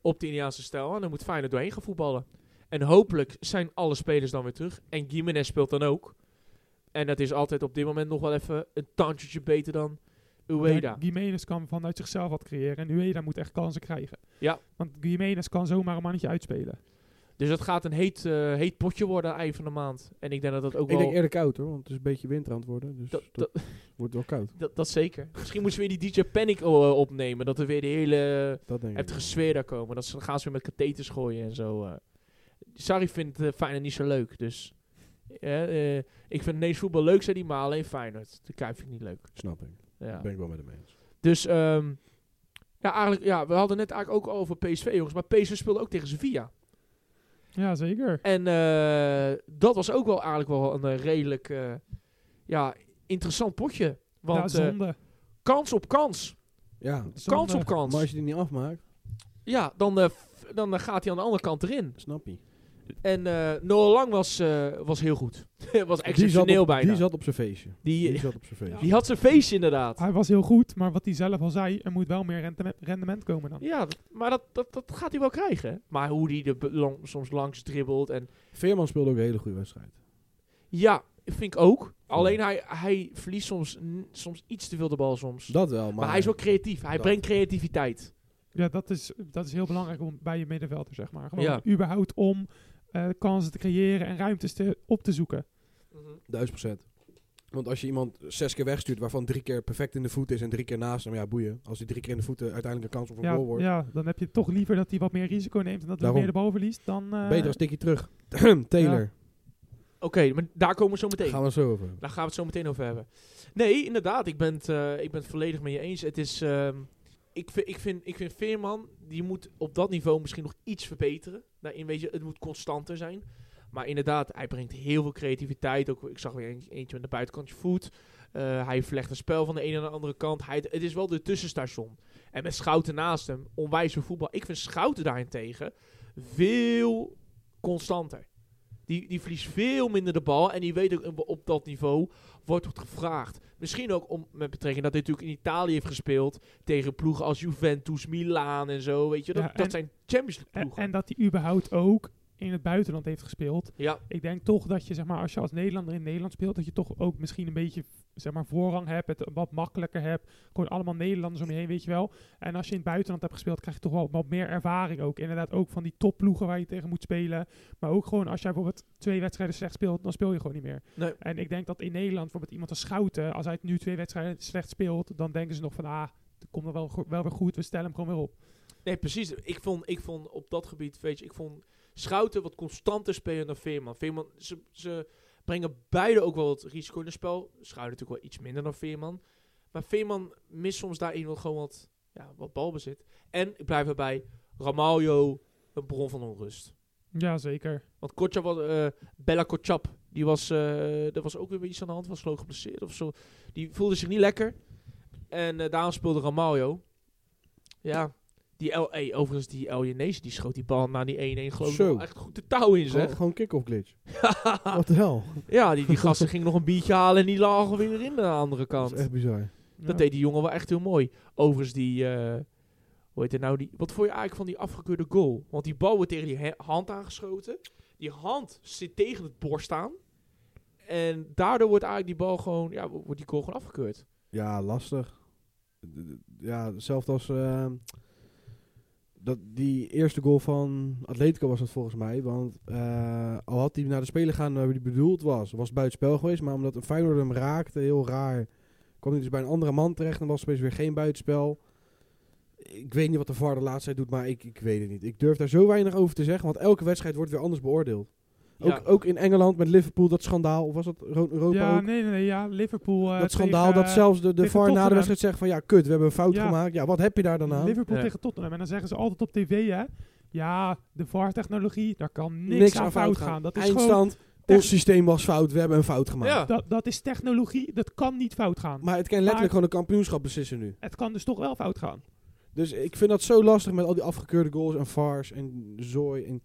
op de Indiaanse stijl. En dan moet Feyenoord doorheen gaan voetballen. En hopelijk zijn alle spelers dan weer terug. En Gimenez speelt dan ook. En dat is altijd op dit moment nog wel even een tandje beter dan Ueda. Ja, Gimenez kan vanuit zichzelf wat creëren. En Ueda moet echt kansen krijgen. Ja. Want Gimenez kan zomaar een mannetje uitspelen. Dus dat gaat een heet, eh, heet potje worden aan het eind van de maand. En ik denk dat dat ook Ik wel... denk eerder koud hoor, want het is een beetje winter aan het worden. Dus dat- dat, dat- wordt wel koud. dat, dat zeker. Misschien moeten we weer die DJ Panic eh, opnemen. Dat er weer de hele... Dat denk ik. heftige sfeer daar komen. Dat ze, dan gaan ze weer met katheters gooien en zo. eh. Sarri vindt eh, Feyenoord niet zo leuk, dus... eh, eh, ik vind ineens voetbal leuk, zei die maar alleen Feyenoord. De Kuip vind ik niet leuk. Snap ik. Ja. Ben ik wel met hem eens. Dus, ehm, ja, eigenlijk, ja, we hadden net eigenlijk ook over PSV, jongens. Maar PSV speelde ook tegen Sevilla. Ja, zeker. En eh, dat was ook wel eigenlijk wel een eh, redelijk eh, ja, interessant potje. ja, Want eh, zonde. kans op kans. Ja, Zonde. Kans op maar als kans. je die niet afmaakt, Ja, dan, eh, f- dan eh, gaat hij aan de andere kant erin. snap je. En eh Noah Lang was, eh, was heel goed. was die zat exceptioneel op, bijna. Die Die, zat Ah. op zijn feestje. Die die, zat op zijn feestje. had zijn feestje inderdaad. Hij was heel goed, maar wat hij zelf al zei, er moet wel meer rendement, rendement komen dan. Ja, dat- maar dat, dat, dat gaat hij wel krijgen. hè. Maar hoe hij er be- lang- soms langs dribbelt. En, Veerman speelde ook een hele goede wedstrijd. ja, vind ik ook. Alleen hij, hij verliest soms, n- soms iets te veel de bal soms. Dat wel, maar, maar, hij is wel creatief. Hij dat- brengt creativiteit. Ja, dat is, dat is heel belangrijk om, bij je middenvelder, zeg maar. Gewoon Ja. überhaupt om eh, kansen te creëren en ruimtes te, op te zoeken. duizend procent. Want als je iemand zes keer wegstuurt, waarvan drie keer perfect in de voeten is en drie keer naast hem, ja boeien. Als die drie keer in de voeten uiteindelijk een kans op een Ja, goal wordt, ja, dan heb je toch liever dat hij wat meer risico neemt en dat hij Daarom. meer de bal verliest dan... eh, beter als tikkie terug. Taylor, Oké, maar daar komen we zo meteen. gaan we het zo over. hebben. Daar gaan we het zo meteen over hebben. Nee, inderdaad. Ik ben het, eh, ik ben het volledig met je eens. Het is, ehm, ik, vi- ik, vind, ik vind Veerman, die moet op dat niveau misschien nog iets verbeteren. Daarin weet je, het moet constanter zijn. Maar inderdaad, hij brengt heel veel creativiteit. Ook, ik zag weer een- eentje met de buitenkantje voet. Eh, hij vlecht een spel van de ene naar de andere kant. Hij, het is wel de tussenstation. En met Schouten naast hem, onwijs veel voetbal. Ik vind Schouten daarentegen veel constanter. Die, die verliest veel minder de bal. En die weet ook op dat niveau wordt het gevraagd. Misschien ook om, met betrekking dat hij natuurlijk in Italië heeft gespeeld. Tegen ploegen als Juventus, Milaan en zo. Weet je, dat, Ja, en- dat zijn Champions League en, ploegen. en dat hij überhaupt ook in het buitenland heeft gespeeld. ja, Ik denk toch dat je, zeg maar, als je als Nederlander in Nederland speelt, dat je toch ook misschien een beetje, zeg maar, voorrang hebt, het wat makkelijker hebt. Gewoon allemaal Nederlanders om je heen, weet je wel. En als je in het buitenland hebt gespeeld, krijg je toch wel wat meer ervaring ook. Inderdaad, ook van die topploegen waar je tegen moet spelen. Maar ook gewoon, als jij bijvoorbeeld twee wedstrijden slecht speelt, dan speel je gewoon niet meer. Nee. En ik denk dat in Nederland, bijvoorbeeld iemand als Schouten, als hij nu twee wedstrijden slecht speelt, dan denken ze nog van, ah, het komt er wel, go- wel weer goed, we stellen hem gewoon weer op. Nee, precies. Ik vond, ik vond op dat gebied, weet je, ik vond Schouten wat constanter spelen dan Veerman. Veerman, ze, ze brengen beide ook wel wat risico in het spel. Schouten natuurlijk wel iets minder dan Veerman. Maar Veerman mist soms daarin wel gewoon wat, ja, wat balbezit. En ik blijf erbij, Ramaljo, een bron van onrust. Ja, zeker. Want Kotja was, eh, Bella Kotchap, die was, eh er was ook weer iets aan de hand, was geloof ik geblesseerd of zo. Die voelde zich niet lekker. En eh, daarom speelde Ramaljo. Ja, die L hey, overigens die El Jenese, die schoot die bal na die 1-1 geloof ik Zo. wel echt goed de touw in Gewoon, zeg. gewoon kick-off glitch. Wat de hel? ja, die, die gasten gingen nog een biertje halen en die lagen weer in aan de andere Dat kant. is echt bizar. Dat deed die jongen wel echt heel mooi. Overigens die, eh, hoe heet het nou, die, wat vond je eigenlijk van die afgekeurde goal? Want die bal wordt tegen die he- hand aangeschoten. Die hand zit tegen het borst aan. En daardoor wordt eigenlijk die bal gewoon, ja, wo- wordt die goal gewoon afgekeurd. Ja, lastig. D- d- Ja, hetzelfde als eh, dat die eerste goal van Atletico was dat volgens mij. Want eh, al had eh, hij naar de speler gaan waar hij bedoeld was, was het buitenspel geweest. Maar omdat een Feyenoord hem raakte, heel raar, Kwam hij dus bij een andere man terecht en was opeens weer geen buitenspel. Ik weet niet wat de VAR de laatste tijd doet, maar ik, ik weet het niet. Ik durf daar zo weinig over te zeggen, want elke wedstrijd wordt weer anders beoordeeld. Ook, oh, Ja. ook in Engeland met Liverpool, dat schandaal. Of was dat Ro- Europa ja, ook? nee, nee, nee, ja, Liverpool. eh, dat schandaal tegen, dat zelfs de, de tegen VAR na de Tottenham. wedstrijd zegt van ja, kut, we hebben een fout Ja. gemaakt. Ja, wat heb je daar dan aan? eh, Liverpool Ja. tegen Tottenham. En dan zeggen ze altijd op tv, hè. Ja, de VAR-technologie, daar kan niks, aan fout gaan. Dat is gewoon... Eindstand, tech- ons systeem was fout, we hebben een fout gemaakt. Ja. Dat, dat is technologie, dat kan niet fout gaan. Maar het kan letterlijk gewoon een kampioenschap beslissen nu. het kan dus toch wel fout gaan. Dus ik vind dat zo lastig met al die afgekeurde goals en VARs en zooi. En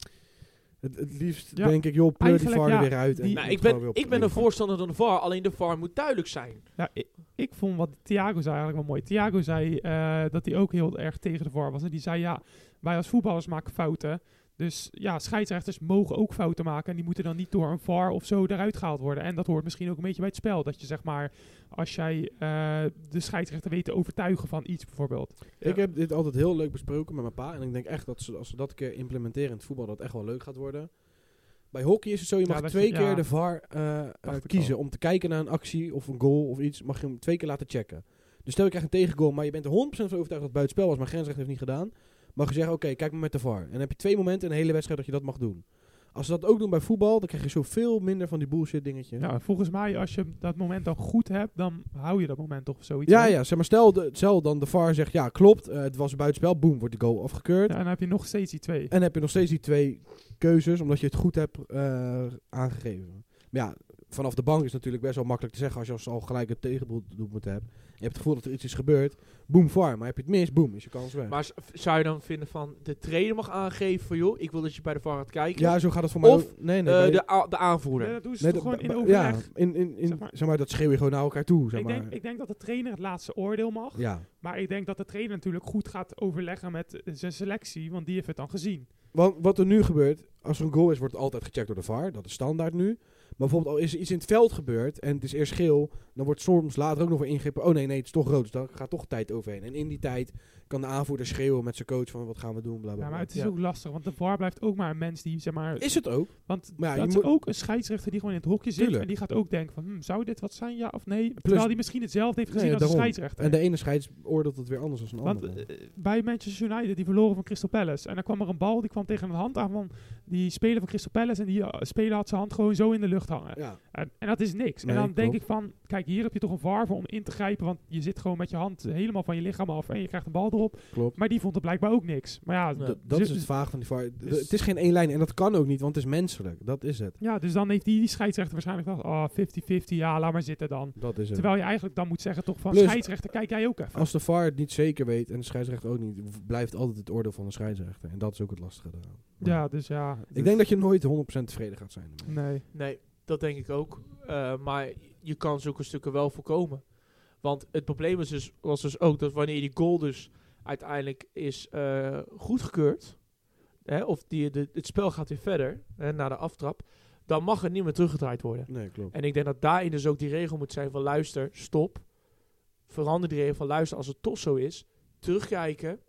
het, het liefst Ja. denk ik, joh, pleur die Eigenlijk, VAR er ja, weer uit. en die- Nou, doe ik het gewoon weer ben, op ik ben play. een voorstander van de VAR, alleen de VAR moet duidelijk zijn. Nou, ik, ik vond wat Thiago zei eigenlijk wel mooi. Thiago zei eh, dat hij ook heel erg tegen de VAR was. En die zei, ja, wij als voetballers maken fouten. Dus ja, scheidsrechters mogen ook fouten maken. En die moeten dan niet door een VAR of zo eruit gehaald worden. En dat hoort misschien ook een beetje bij het spel. Dat je zeg maar, als jij eh, de scheidsrechter weet te overtuigen van iets bijvoorbeeld. Ik heb dit altijd heel leuk besproken met mijn pa. En ik denk echt dat ze, als ze dat een keer implementeren in het voetbal, dat echt wel leuk gaat worden. Bij hockey is het zo, je Ja, mag dat twee je- keer ja. de VAR eh, eh, Dacht ik kiezen om te kijken naar een actie of een goal of iets. Mag je hem twee keer laten checken. Dus stel je krijgt een tegengoal, maar je bent er 100% van overtuigd dat het buitenspel was, maar grensrecht heeft niet gedaan. Mag je zeggen, oké, kijk maar met de VAR. En dan heb je twee momenten in een hele wedstrijd dat je dat mag doen. Als ze dat ook doen bij voetbal, dan krijg je zoveel minder van die bullshit dingetje. Ja, en Nou, volgens mij als je dat moment dan goed hebt, dan hou je dat moment toch of zoiets. Ja, hè? ja, zeg maar stel, de, stel dan de VAR zegt, ja klopt, eh, het was buitenspel, boem, wordt de goal afgekeurd. Ja, en dan heb je nog steeds die twee. En heb je nog steeds die twee keuzes, omdat je het goed hebt eh, aangegeven. Maar ja, vanaf de bank is natuurlijk best wel makkelijk te zeggen als je als al gelijk het tegendoelpunt hebt. Je hebt het gevoel dat er iets is gebeurd, boem, var. Maar heb je het mis, boem, is je kans weg. Maar z- zou je dan vinden van de trainer mag aangeven van joh, ik wil dat je bij de VAR gaat kijken. ja, zo gaat het voor mij Of, ook. Nee, Eh, bij- de, a- de Ja, aanvoerder. dat doen ze nee, toch de- gewoon in bij- overleg. Ja, in, in, in, Zeg zeg, maar. maar. dat schreeuw je gewoon naar elkaar toe, zeg ik, maar. denk, ik denk dat de trainer het laatste oordeel mag. ja. Maar ik denk dat de trainer natuurlijk goed gaat overleggen met eh, zijn selectie, want die heeft het dan gezien. Want wat er nu gebeurt, als er een goal is, wordt het altijd gecheckt door de VAR. Dat is standaard nu. Maar bijvoorbeeld al is er iets in het veld gebeurd en het is eerst geel, dan wordt soms later ook nog weer ingegripen. Oh nee, nee, het is toch rood. Dus daar gaat toch tijd overheen. En in die tijd kan de aanvoerder schreeuwen met zijn coach van wat gaan we doen, bla bla. Ja, maar bla. het is Ja. ook lastig, want de VAR blijft ook maar een mens die, zeg maar... Is het ook? want Maar ja, dat je is moet- ook een scheidsrechter die gewoon in het hokje zit Tuurlijk. en die gaat ook denken van, hm, zou dit wat zijn, ja of nee? Terwijl die misschien hetzelfde heeft Nee, gezien als de daarom. scheidsrechter. En de ene scheids oordeelt het weer anders dan een Want andere. eh, bij Manchester United, die verloren van Crystal Palace. En dan kwam er een bal, die kwam tegen een hand aan van die speler van Crystal Palace. En die eh, speler had zijn hand gewoon zo in de lucht hangen. ja. En, en dat is niks. Nee, en dan denk klopt. ik van, kijk, hier heb je toch een VAR voor om in te grijpen. Want je zit gewoon met je hand helemaal van je lichaam af en je krijgt een bal erop. Klopt. Maar die vond het blijkbaar ook niks. Maar ja, Nee, Dat- d- dat dus- is het vaag van die VAR. De- dus- het is geen één lijn en dat kan ook niet, want het is menselijk. Dat is het. ja, dus dan heeft die, die scheidsrechter waarschijnlijk wel, oh, 50-50, ja, laat maar zitten dan. Dat is het. Terwijl je eigenlijk dan moet zeggen toch van, Plus- scheidsrechter, kijk jij ook even. Als de VAR het niet zeker weet en de scheidsrechter ook niet, w- blijft altijd het oordeel van de scheidsrechter. En dat is ook het lastige eraan. Maar- Ja, dus ja. Ik denk dat je nooit 100% tevreden gaat zijn. ermee. Nee. Nee, dat denk ik ook. Eh, maar je kan zulke stukken wel voorkomen. Want het probleem is dus, was dus ook dat wanneer die goal dus uiteindelijk is eh, goedgekeurd, hè, of die, de, het spel gaat weer verder hè, naar de aftrap, dan mag het niet meer teruggedraaid worden. Nee, klopt. En ik denk dat daarin dus ook die regel moet zijn van luister, stop. Verander die regel van luister als het toch zo is. Terugkijken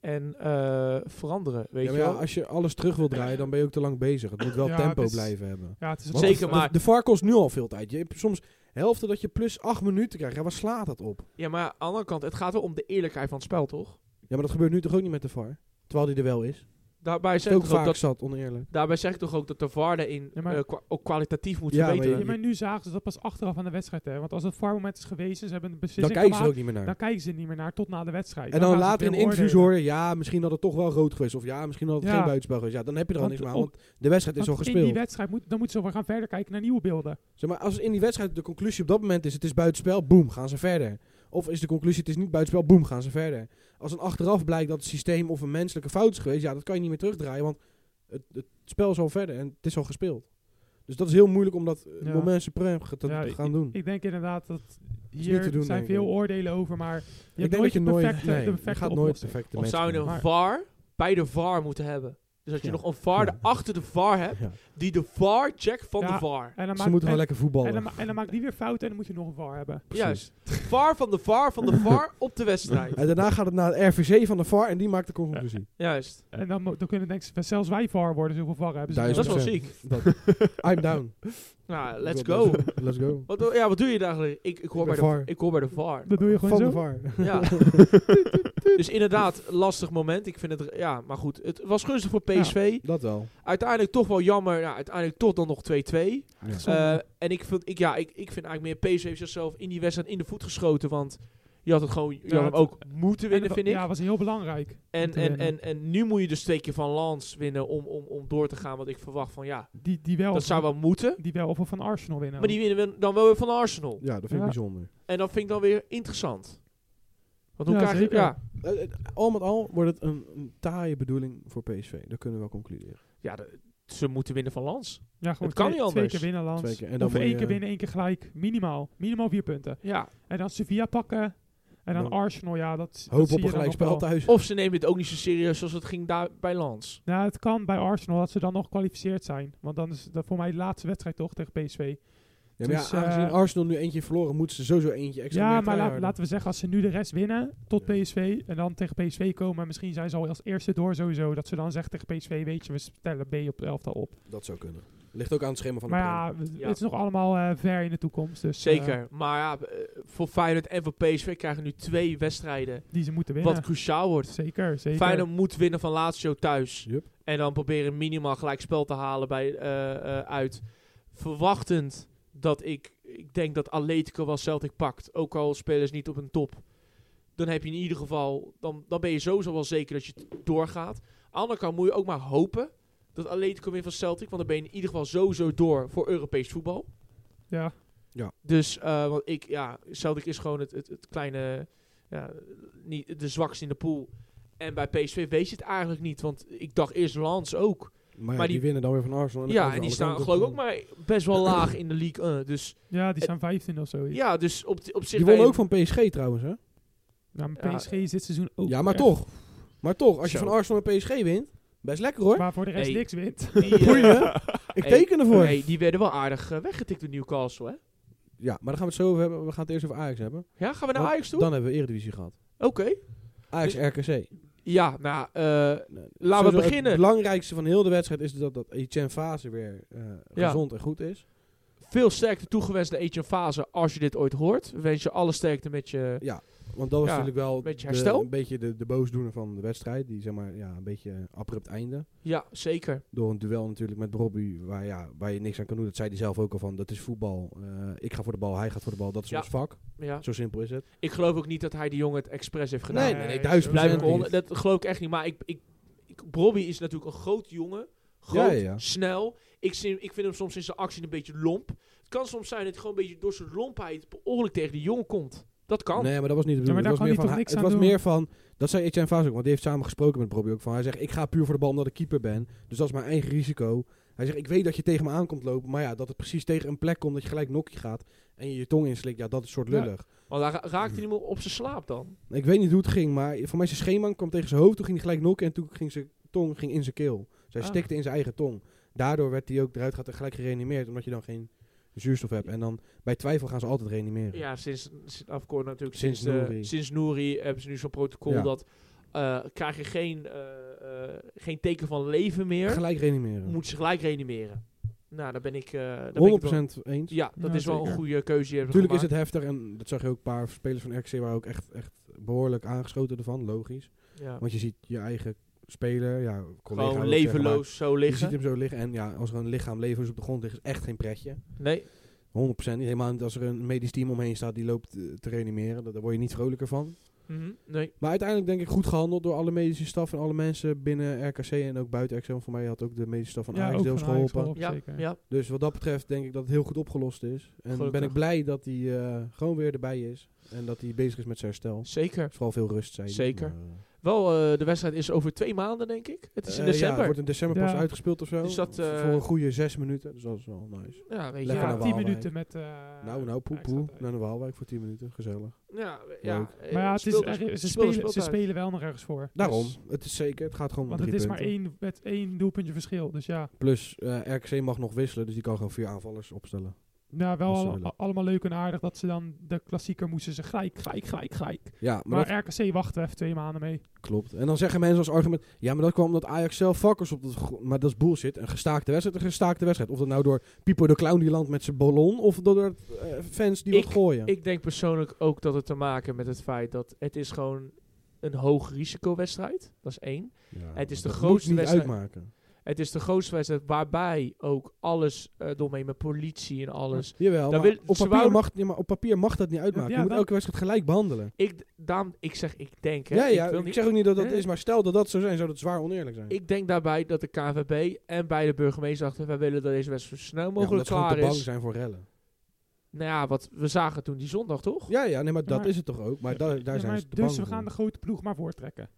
en eh, veranderen, weet Ja, je maar ja, wel. als je alles terug wil draaien, dan ben je ook te lang bezig. Het moet wel Ja, tempo het is- blijven hebben. Ja, het is Want- Dus Zeker, de- maar- De, VAR kost nu al veel tijd. Je hebt soms helften dat je plus 8 minuten krijgt. Ja, waar slaat dat op? Ja, maar aan de andere kant, het gaat wel om de eerlijkheid van het spel, toch? Ja, maar dat gebeurt nu toch ook niet met de VAR? Terwijl die er wel is. Daarbij zeg, Het ik ook toch ook vaak dat, zat, oneerlijk. daarbij zeg ik toch ook dat de VAR daarin Ja, maar- eh, kwa- ook kwalitatief moet Ja, maar verbeteren. Ja, maar nu zagen ze dat pas achteraf aan de wedstrijd. Hè? Want als het VAR-moment is geweest en ze hebben een Dan beslissing kijken ze er gemaakt, ook niet meer naar. dan kijken ze er niet meer naar tot na de wedstrijd. en dan gaan ze het later in weer interviews beoordelen. horen, ja, misschien had het toch wel rood geweest. Of ja, misschien had het Ja. geen buitenspel geweest. Ja, dan heb je er al Want niks meer aan, op- want de wedstrijd is al Want in gespeeld. die wedstrijd moet, dan moeten ze wel gaan verder kijken naar nieuwe beelden. Zeg maar, als in die wedstrijd de conclusie op dat moment is: het is buitenspel, boem, gaan ze verder. Of is de conclusie: het is niet buitenspel, boem, gaan ze verder. Als een achteraf blijkt dat het systeem of een menselijke fout is geweest, ja, dat kan je niet meer terugdraaien, want het, het spel is al verder en het is al gespeeld. Dus dat is heel moeilijk om dat eh, Ja. moment supreme ge- te, Ja, te ik- gaan doen. Ik denk inderdaad dat niet hier te doen, zijn denk veel ik. oordelen over, maar je Ik hebt nooit de perfecte, nee, de je perfecte gaat nooit oplossing. perfecte Of zou je match een Maar- VAR bij de VAR moeten hebben? Dus dat je Ja. nog een VAR Ja. achter de VAR hebt, Ja. die de VAR checkt van Ja. de VAR. En dan, Ze maakt, moeten en, wel lekker en voetballen. dan, ma- en dan maakt die weer fout en dan moet je nog een VAR hebben. Precies. Juist. VAR van de VAR van de VAR op de wedstrijd. En daarna gaat het naar het RVC van de VAR en die maakt de conclusie. Juist. En dan, mo- dan kunnen denk ik zelfs wij VAR worden, zoveel VAR hebben ze. Dat is Duizend wel procent. ziek. Dat, I'm down. Nou, let's go. Let's go. Wat, doe- ja, wat doe je daar eigenlijk? Ik, ik, hoor Ik bij ben de, VAR. ik hoor bij de VAR. Dat doe je gewoon Van de zo. VAR. Ja. dus inderdaad, lastig moment. Ik vind het, ja, maar goed. Het was gunstig voor PSV. Dat wel. Uiteindelijk toch wel jammer. Nou, uiteindelijk toch dan nog 2-2. Ja. Zonde. Eh, en ik vind, ik, ja, ik, ik vind eigenlijk meer PSV heeft zichzelf in die wedstrijd in de voet geschoten. Want je had het gewoon, je Ja, had hem het- ook moeten winnen, En- vind ik. Ja, was heel belangrijk. en, te en, winnen. en, en nu moet je dus twee keer van Lans winnen om, om, om door te gaan. Want ik verwacht van, ja, Die, die wel. dat zou wel moeten. Die wel of we van Arsenal winnen. Maar die winnen we dan wel weer van Arsenal. Ja, dat vind ik Ja. bijzonder. En dat vind ik dan weer interessant. Want hoe Ja, krijg je... zeker. Ja, Eh, eh, al met al wordt het een, een taaie bedoeling voor PSV. Dat kunnen we wel concluderen. ja de- ze moeten winnen van Lans. ja, gewoon het kan twee, niet twee anders. keer winnen, Lans. Twee keer. En dan Of moet één je- keer winnen, één keer gelijk. Minimaal. Minimaal vier punten. Ja. En dan Sevilla pakken. En dan Dan- Arsenal, ja, dat, dat Hoop zie op je een dan nog gelijkspel wel. thuis. Of ze nemen het ook niet zo serieus als het ging daar bij Lans. Nou, het kan bij Arsenal dat ze dan nog kwalificeerd zijn. Want dan is dat voor mij de laatste wedstrijd toch tegen PSV. Ja, maar Dus, ja, eh, aangezien Arsenal nu eentje heeft verloren, moeten ze sowieso eentje extra Ja, meer maar laat- tryharden. laten we zeggen, als ze nu de rest winnen tot Ja. PSV en dan tegen PSV komen, en misschien zijn ze al als eerste door sowieso, dat ze dan zegt tegen PSV, weet je, we stellen B op de elftal op. Dat zou kunnen. Ligt ook aan het schema van maar de ja, ja, w- Ja. het is nog allemaal eh, ver in de toekomst, dus eh, Zeker. maar ja, eh, voor Feyenoord en voor PSV krijgen nu twee wedstrijden. die ze moeten winnen. Wat cruciaal wordt. zeker, zeker. Feyenoord moet winnen van Lazio thuis. Yup. En dan proberen minimaal gelijk spel te halen bij, eh, eh, uit. Verwachtend dat ik... Ik denk dat Atletico wel Celtic pakt. Ook al spelen ze niet op een top. Dan heb je in ieder geval... Dan, dan ben je sowieso wel zeker dat je t- doorgaat. Aan de andere kant moet je ook maar hopen... dat Atletico wint van Celtic. Want dan ben je in ieder geval sowieso door voor Europees voetbal. Ja, Dus, eh, want ik, ja, Celtic is gewoon het, het, het kleine, ja, niet, de zwakste in de pool. En bij PSV weet je het eigenlijk niet, want ik dacht eerst Lans ook. Maar, ja, maar die, die- winnen dan weer van Arsenal. Oh, dan ja, komen en die ze alle staan kanten geloof ik op. ook maar best wel laag in de league. eh, dus ja die staan 15 of zo. ja, dus op, op zich... Die wonnen ben- ook van PSG trouwens, hè? Nou, maar Ja. PSG is dit seizoen ook. ja, maar echt- toch. Maar toch, als je Zo. van Arsenal en PSG wint, best lekker hoor. Maar voor de rest Hey. niks wint. Die, eh, Boeien. Ik hey, teken ervoor. hey, die werden wel aardig eh, weggetikt door Newcastle, hè? Ja, maar daar gaan we het zo over hebben. We gaan het eerst over Ajax hebben. Ja, gaan we naar Want Ajax toe? Dan hebben we Eredivisie gehad. Oké. Ajax RKC. Ja, nou, eh, Nou, laten we sowieso beginnen. Het belangrijkste van heel de wedstrijd is dat, dat Etienne Fase weer eh, Ja. gezond en goed is. veel sterkte toegewenst naar Etienne Fase als je dit ooit hoort. We wensen je alle sterkte met je... Want dat was Ja, natuurlijk wel beetje de- herstel. een beetje de, de boosdoener van de wedstrijd. Die zeg maar ja, een beetje eh, abrupt einde. Ja, zeker. Door een duel natuurlijk met Robbie, waar, ja, waar je niks aan kan doen. Dat zei hij zelf ook al van, dat is voetbal. Eh, ik ga voor de bal, hij gaat voor de bal. Dat is Ja. ons vak. Ja. Zo simpel is het. Ik geloof ook niet dat hij die jongen het expres heeft gedaan. nee, nee, duizend Blijf ik Procent onder- niet. dat geloof ik echt niet. Maar ik, ik, ik, Bobby is natuurlijk een groot jongen. Groot, Ja, ja, ja. snel. Ik, zie, ik vind hem soms in zijn actie een beetje lomp. Het kan soms zijn dat hij gewoon een beetje door zijn lompheid per ongeluk tegen die jongen komt. Dat kan. Nee, maar dat was niet de Ja, maar bedoeling. het was, meer daar kan hij van, toch hij- niks het aan was doen? meer van, dat zei Etienne Vaas ook, want die heeft samen gesproken met Robbie ook van. Hij zegt, ik ga puur voor de bal omdat ik keeper ben. Dus dat is mijn eigen risico. Hij zegt, ik weet dat je tegen me aankomt lopen, maar ja, dat het precies tegen een plek komt dat je gelijk nokkie gaat en je je tong inslikt, ja, dat is soort Ja. lullig. Want hij ra- raakt hij niet meer op zijn slaap dan. Ik weet niet hoe het ging, maar voor mij zijn scheeman kwam tegen zijn hoofd. Toen ging hij gelijk nokken en toen ging zijn tong ging in zijn keel. Zij Ah. stikte in zijn eigen tong. Daardoor werd hij ook eruit gaat en gelijk gereanimeerd, omdat je dan geen zuurstof hebt. En dan bij twijfel gaan ze altijd reanimeren. Ja, sinds, sinds afkort natuurlijk. Sinds, Sinds sinds, eh, Nouri. sinds Nouri hebben ze nu zo'n protocol Ja. dat eh, krijg je geen, eh, eh, geen teken van leven meer. Gelijk reanimeren. Moet ze gelijk reanimeren. Nou, daar ben ik... eh, daar ben ik het wel- 100% eens. Ja, dat Ja, is wel een zeker. goede keuze. die hebben ze Natuurlijk is gemaakt. het heftig en dat zag je ook een paar spelers van RKC waren ook echt, echt behoorlijk aangeschoten ervan, logisch. Ja. Want je ziet je eigen speler, ja, collega Gewoon wil ik zeggen, maar levenloos zo Je ziet liggen. hem zo liggen en ja, als er een lichaam levenloos op de grond ligt, is echt geen pretje. 100% niet. Helemaal niet als er een medisch team omheen staat die loopt eh, te reanimeren. Daar daar word je niet vrolijker van. Mhm, Nee. Maar uiteindelijk denk ik goed gehandeld door alle medische staf en alle mensen binnen RKC en ook buiten RKC. Want voor mij had ook de medische staf van ja, Ajax ook deels van Ajax geholpen. Ja, zeker. ja. Dus wat dat betreft denk ik dat het heel goed opgelost is. En ben Gelukkig. ik blij dat hij eh, gewoon weer erbij is. En dat hij bezig is met zijn herstel. Zeker. Vooral veel rust, zei hij. Zeker. Maar, eh, Wel, eh, de wedstrijd is over twee maanden, denk ik. Het is in Eh, Ja, december. wordt in december pas Ja. uitgespeeld of zo. Dus dat, eh, Voor een goede zes minuten. Dus dat is wel nice. ja, weet je, Lekker ja, naar Ja, de 10 Waalwijk. minuten met... eh, Nou, nou, poe, extra poe. tijd. Naar de Waalwijk voor 10 minuten. Gezellig. ja, ja, Leuk. eh, Maar ja, het is, speeltijd- er- ze, speeltijd- spelen, ze speeltijd. spelen wel nog ergens voor. Daarom. Dus- het is zeker. Het gaat gewoon om want drie het is maar punten. één, met één doelpuntje verschil. Dus ja, Plus, eh RKC mag nog wisselen. Dus die kan gewoon vier aanvallers opstellen. nou, wel Als ze al- willen. allemaal leuk en aardig dat ze dan de klassieker moesten. Ze gelijk, gelijk, gelijk, gelijk. Ja, maar, Maar, dat RKC wachten we even twee maanden mee. klopt. En dan zeggen mensen als argument... Ja, maar dat kwam omdat Ajax zelf vakkers op de gro- Maar dat is bullshit. Een gestaakte wedstrijd, een gestaakte wedstrijd. Of dat nou door Pipo de Clown die landt met zijn ballon... Of door eh, fans die Ik- wat gooien. Ik denk persoonlijk ook dat het te maken met het feit dat het is gewoon een hoog risicowedstrijd. Dat is één. Ja, het is de dat grootste moet niet wedstrijd- uitmaken. Het is de grootste wedstrijd waarbij ook alles eh doorheen met politie en alles. Dan Jawel, maar wil- op, ze papier wouden- mag, ja, maar op papier mag dat niet uitmaken. Ja, je moet dan- elke wedstrijd gelijk behandelen. Ik, daarom, ik zeg, ik denk. Hè, Ja, ja, ik, ik, wil niet, zeg ook niet dat dat Nee. is, maar stel dat dat zo zijn, zou dat zwaar oneerlijk zijn. ik denk daarbij dat de KNVB en beide burgemeester dachten... wij willen dat deze wedstrijd zo snel Ja, mogelijk omdat ze klaar gewoon te bang is. zijn voor rellen. Nou ja, wat we zagen toen die zondag, toch? Ja, ja, nee, maar dat maar- is het toch ook. Maar daar- daar Ja, zijn maar ze te dus bang we gaan de voor. grote ploeg maar voortrekken.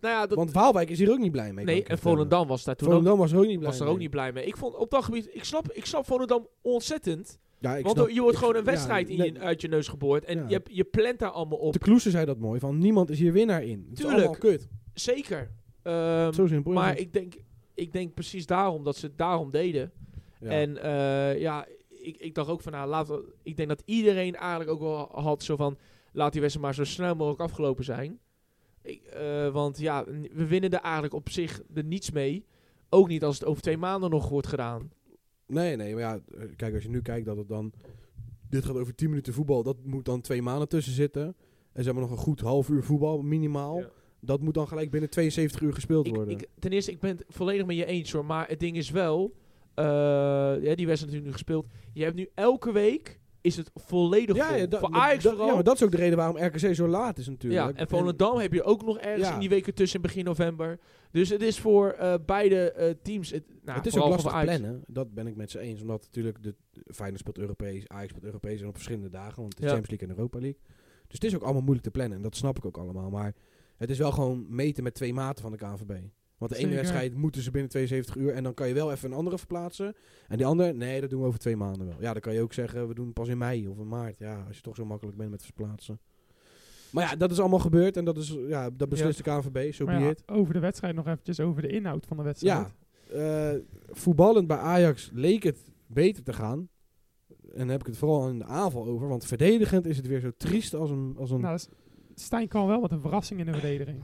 Nou ja, dat, Want Waalwijk is hier ook niet blij mee. kan nee, ik en je vertellen. Volendam was daar toen Volendam was er ook niet ook, blij was er mee. ook niet blij mee. Ik vond op dat gebied... Ik snap, ik snap Volendam ontzettend. Ja, ik Want snap- je wordt ik- gewoon een ja, wedstrijd in nee, je, uit je neus geboord. En Ja. je, je plant daar allemaal op. De Kloeser zei dat mooi, van niemand is hier winnaar in. Het is Tuurlijk. allemaal kut. Zeker. Ehm, Zo simpel. is maar het. ik denk, ik denk precies daarom dat ze het daarom deden. Ja. En eh, ja, ik, ik dacht ook van, nou, laat, ik denk dat iedereen eigenlijk ook wel had zo van, laat die wedstrijd maar zo snel mogelijk afgelopen zijn. Ik, eh, want ja, n- we winnen er eigenlijk op zich er niets mee. Ook niet als het over twee maanden nog wordt gedaan. Nee, nee, maar ja, eh, kijk, als je nu kijkt dat het dan... Dit gaat over 10 minuten voetbal, dat moet dan twee maanden tussen zitten. En ze hebben nog een goed half uur voetbal, minimaal. Ja. Dat moet dan gelijk binnen 72 uur gespeeld Ik, worden. ik, ten eerste, ik ben het volledig met je eens hoor. Maar het ding is wel, eh, ja, die wedstrijd is natuurlijk nu gespeeld. Je hebt nu elke week, is het volledig vol. da- Voor maar Ajax da- vooral. ja, maar dat is ook de reden waarom RKC zo laat is natuurlijk. Ja, en Volendam heb je ook nog ergens Ja. in die weken tussen begin november. Dus het is voor eh, beide eh, teams... Het, nou, het is ook vooral lastig voor Ajax. plannen, dat ben ik met ze eens. Omdat natuurlijk de de Feyenoord speelt Europees, Ajax speelt Europees en op verschillende dagen. Want het is Ja. Champions League en Europa League. Dus het is ook allemaal moeilijk te plannen en dat snap ik ook allemaal. Maar het is wel gewoon meten met twee maten van de KNVB. Want de ene Zeker. wedstrijd moeten ze binnen 72 uur en dan kan je wel even een andere verplaatsen. En die andere, nee, dat doen we over twee maanden wel. Ja, dan kan je ook zeggen, we doen het pas in mei of in maart. Ja, als je toch zo makkelijk bent met verplaatsen. Maar ja, dat is allemaal gebeurd en dat, is, ja, dat beslist de KNVB, zo so Maar be ja, it. over de wedstrijd nog eventjes, over de inhoud van de wedstrijd. Ja, eh, voetballend bij Ajax leek het beter te gaan. En dan heb ik het vooral in de aanval over. Want verdedigend is het weer zo triest als een... Als een Nou, dat is- Stijn kan wel wat een verrassing in de verdediging.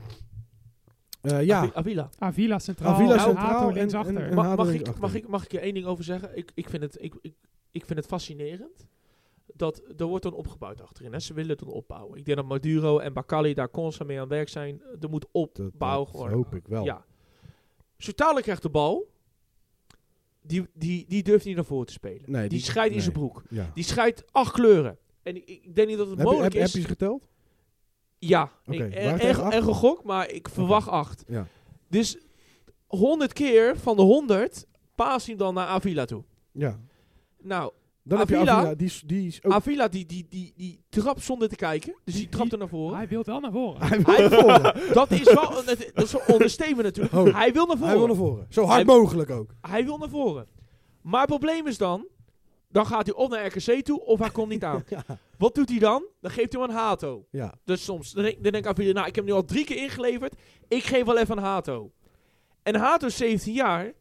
eh, ja, Avi- Avila. Avila centraal, Avila en centraal Hato en- linksachter. en- en- Ma- Hader mag, is ik, achter. mag, ik, mag ik er één ding over zeggen? Ik, ik, vind het, ik, ik, ik vind het fascinerend. Dat er wordt dan opgebouwd achterin. Hè. Ze willen het dan opbouwen. Ik denk dat Maduro en Bakali daar constant mee aan het werk zijn. Er moet dat, opbouw dat worden. hoop ik wel. Ja. Soutali krijgt de bal. Die, die, die durft niet naar voren te spelen. Nee, die, die- scheidt in nee. zijn broek. Ja. Die scheidt acht kleuren. En ik, ik denk niet dat het heb, je, heb, mogelijk heb is. je ze geteld? Ja, Oké, ik, waar er, tegen er, acht? erge gok, maar ik verwacht acht. Ja. Dus 100 keer van de 100 paas hij hem dan naar Avila toe. Ja. Nou, Dan heb je Avila. Avila. Die, is- die is ook... Avila die, die, die, die trapt zonder te kijken. Dus Die- die trapt er naar voren. Hij wil wel naar voren. Hij wil naar voren. dat is wel een, het- dat is wel ondersteven natuurlijk. Oh. Hij wil naar voren. Hij wil naar voren. Zo hard Hij- mogelijk ook. Hij wil naar voren. Maar het probleem is dan, dan gaat hij of naar RKC toe of hij komt niet aan. Ja. Wat doet hij dan? Dan geeft hij hem aan Hato. Ja. Dus soms, dan denk, dan denk ik aan Villa, nou, ik heb hem nu al drie keer ingeleverd. Ik geef wel even aan Hato. En Hato is 17 jaar.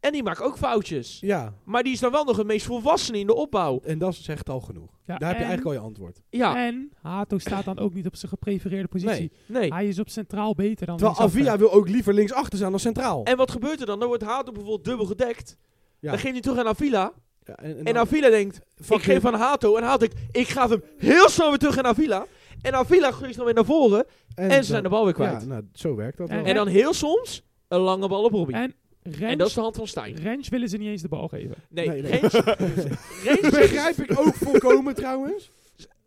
En die maakt ook foutjes. ja. Maar die is dan wel nog het meest volwassene in de opbouw. En dat zegt al genoeg. Ja, Daar heb je en- eigenlijk al je antwoord. Ja, En Hato staat dan ook niet op zijn geprefereerde positie. nee. Hij is op centraal beter dan Terwijl linksachter. Avila wil ook liever linksachter staan dan centraal. En wat gebeurt er dan? Dan wordt Hato bijvoorbeeld dubbel gedekt. Ja. Dan geeft hij terug aan Avila. Ja, en, en En dan- Avila denkt, fuck ik geef it. aan Hato. En Hato, denkt, ik ga hem heel snel weer terug aan Avila. En Avila groeit dan weer naar voren. En, dan- ze zijn de bal weer kwijt. Ja, nou, zo werkt dat En- wel. En dan heel soms een lange bal op Robbie. En En, Rens, dat is de hand van Stijn. Rens willen ze niet eens de bal geven. Nee, Nee, nee, nee. Rens, Rens- Begrijp ik ook volkomen trouwens.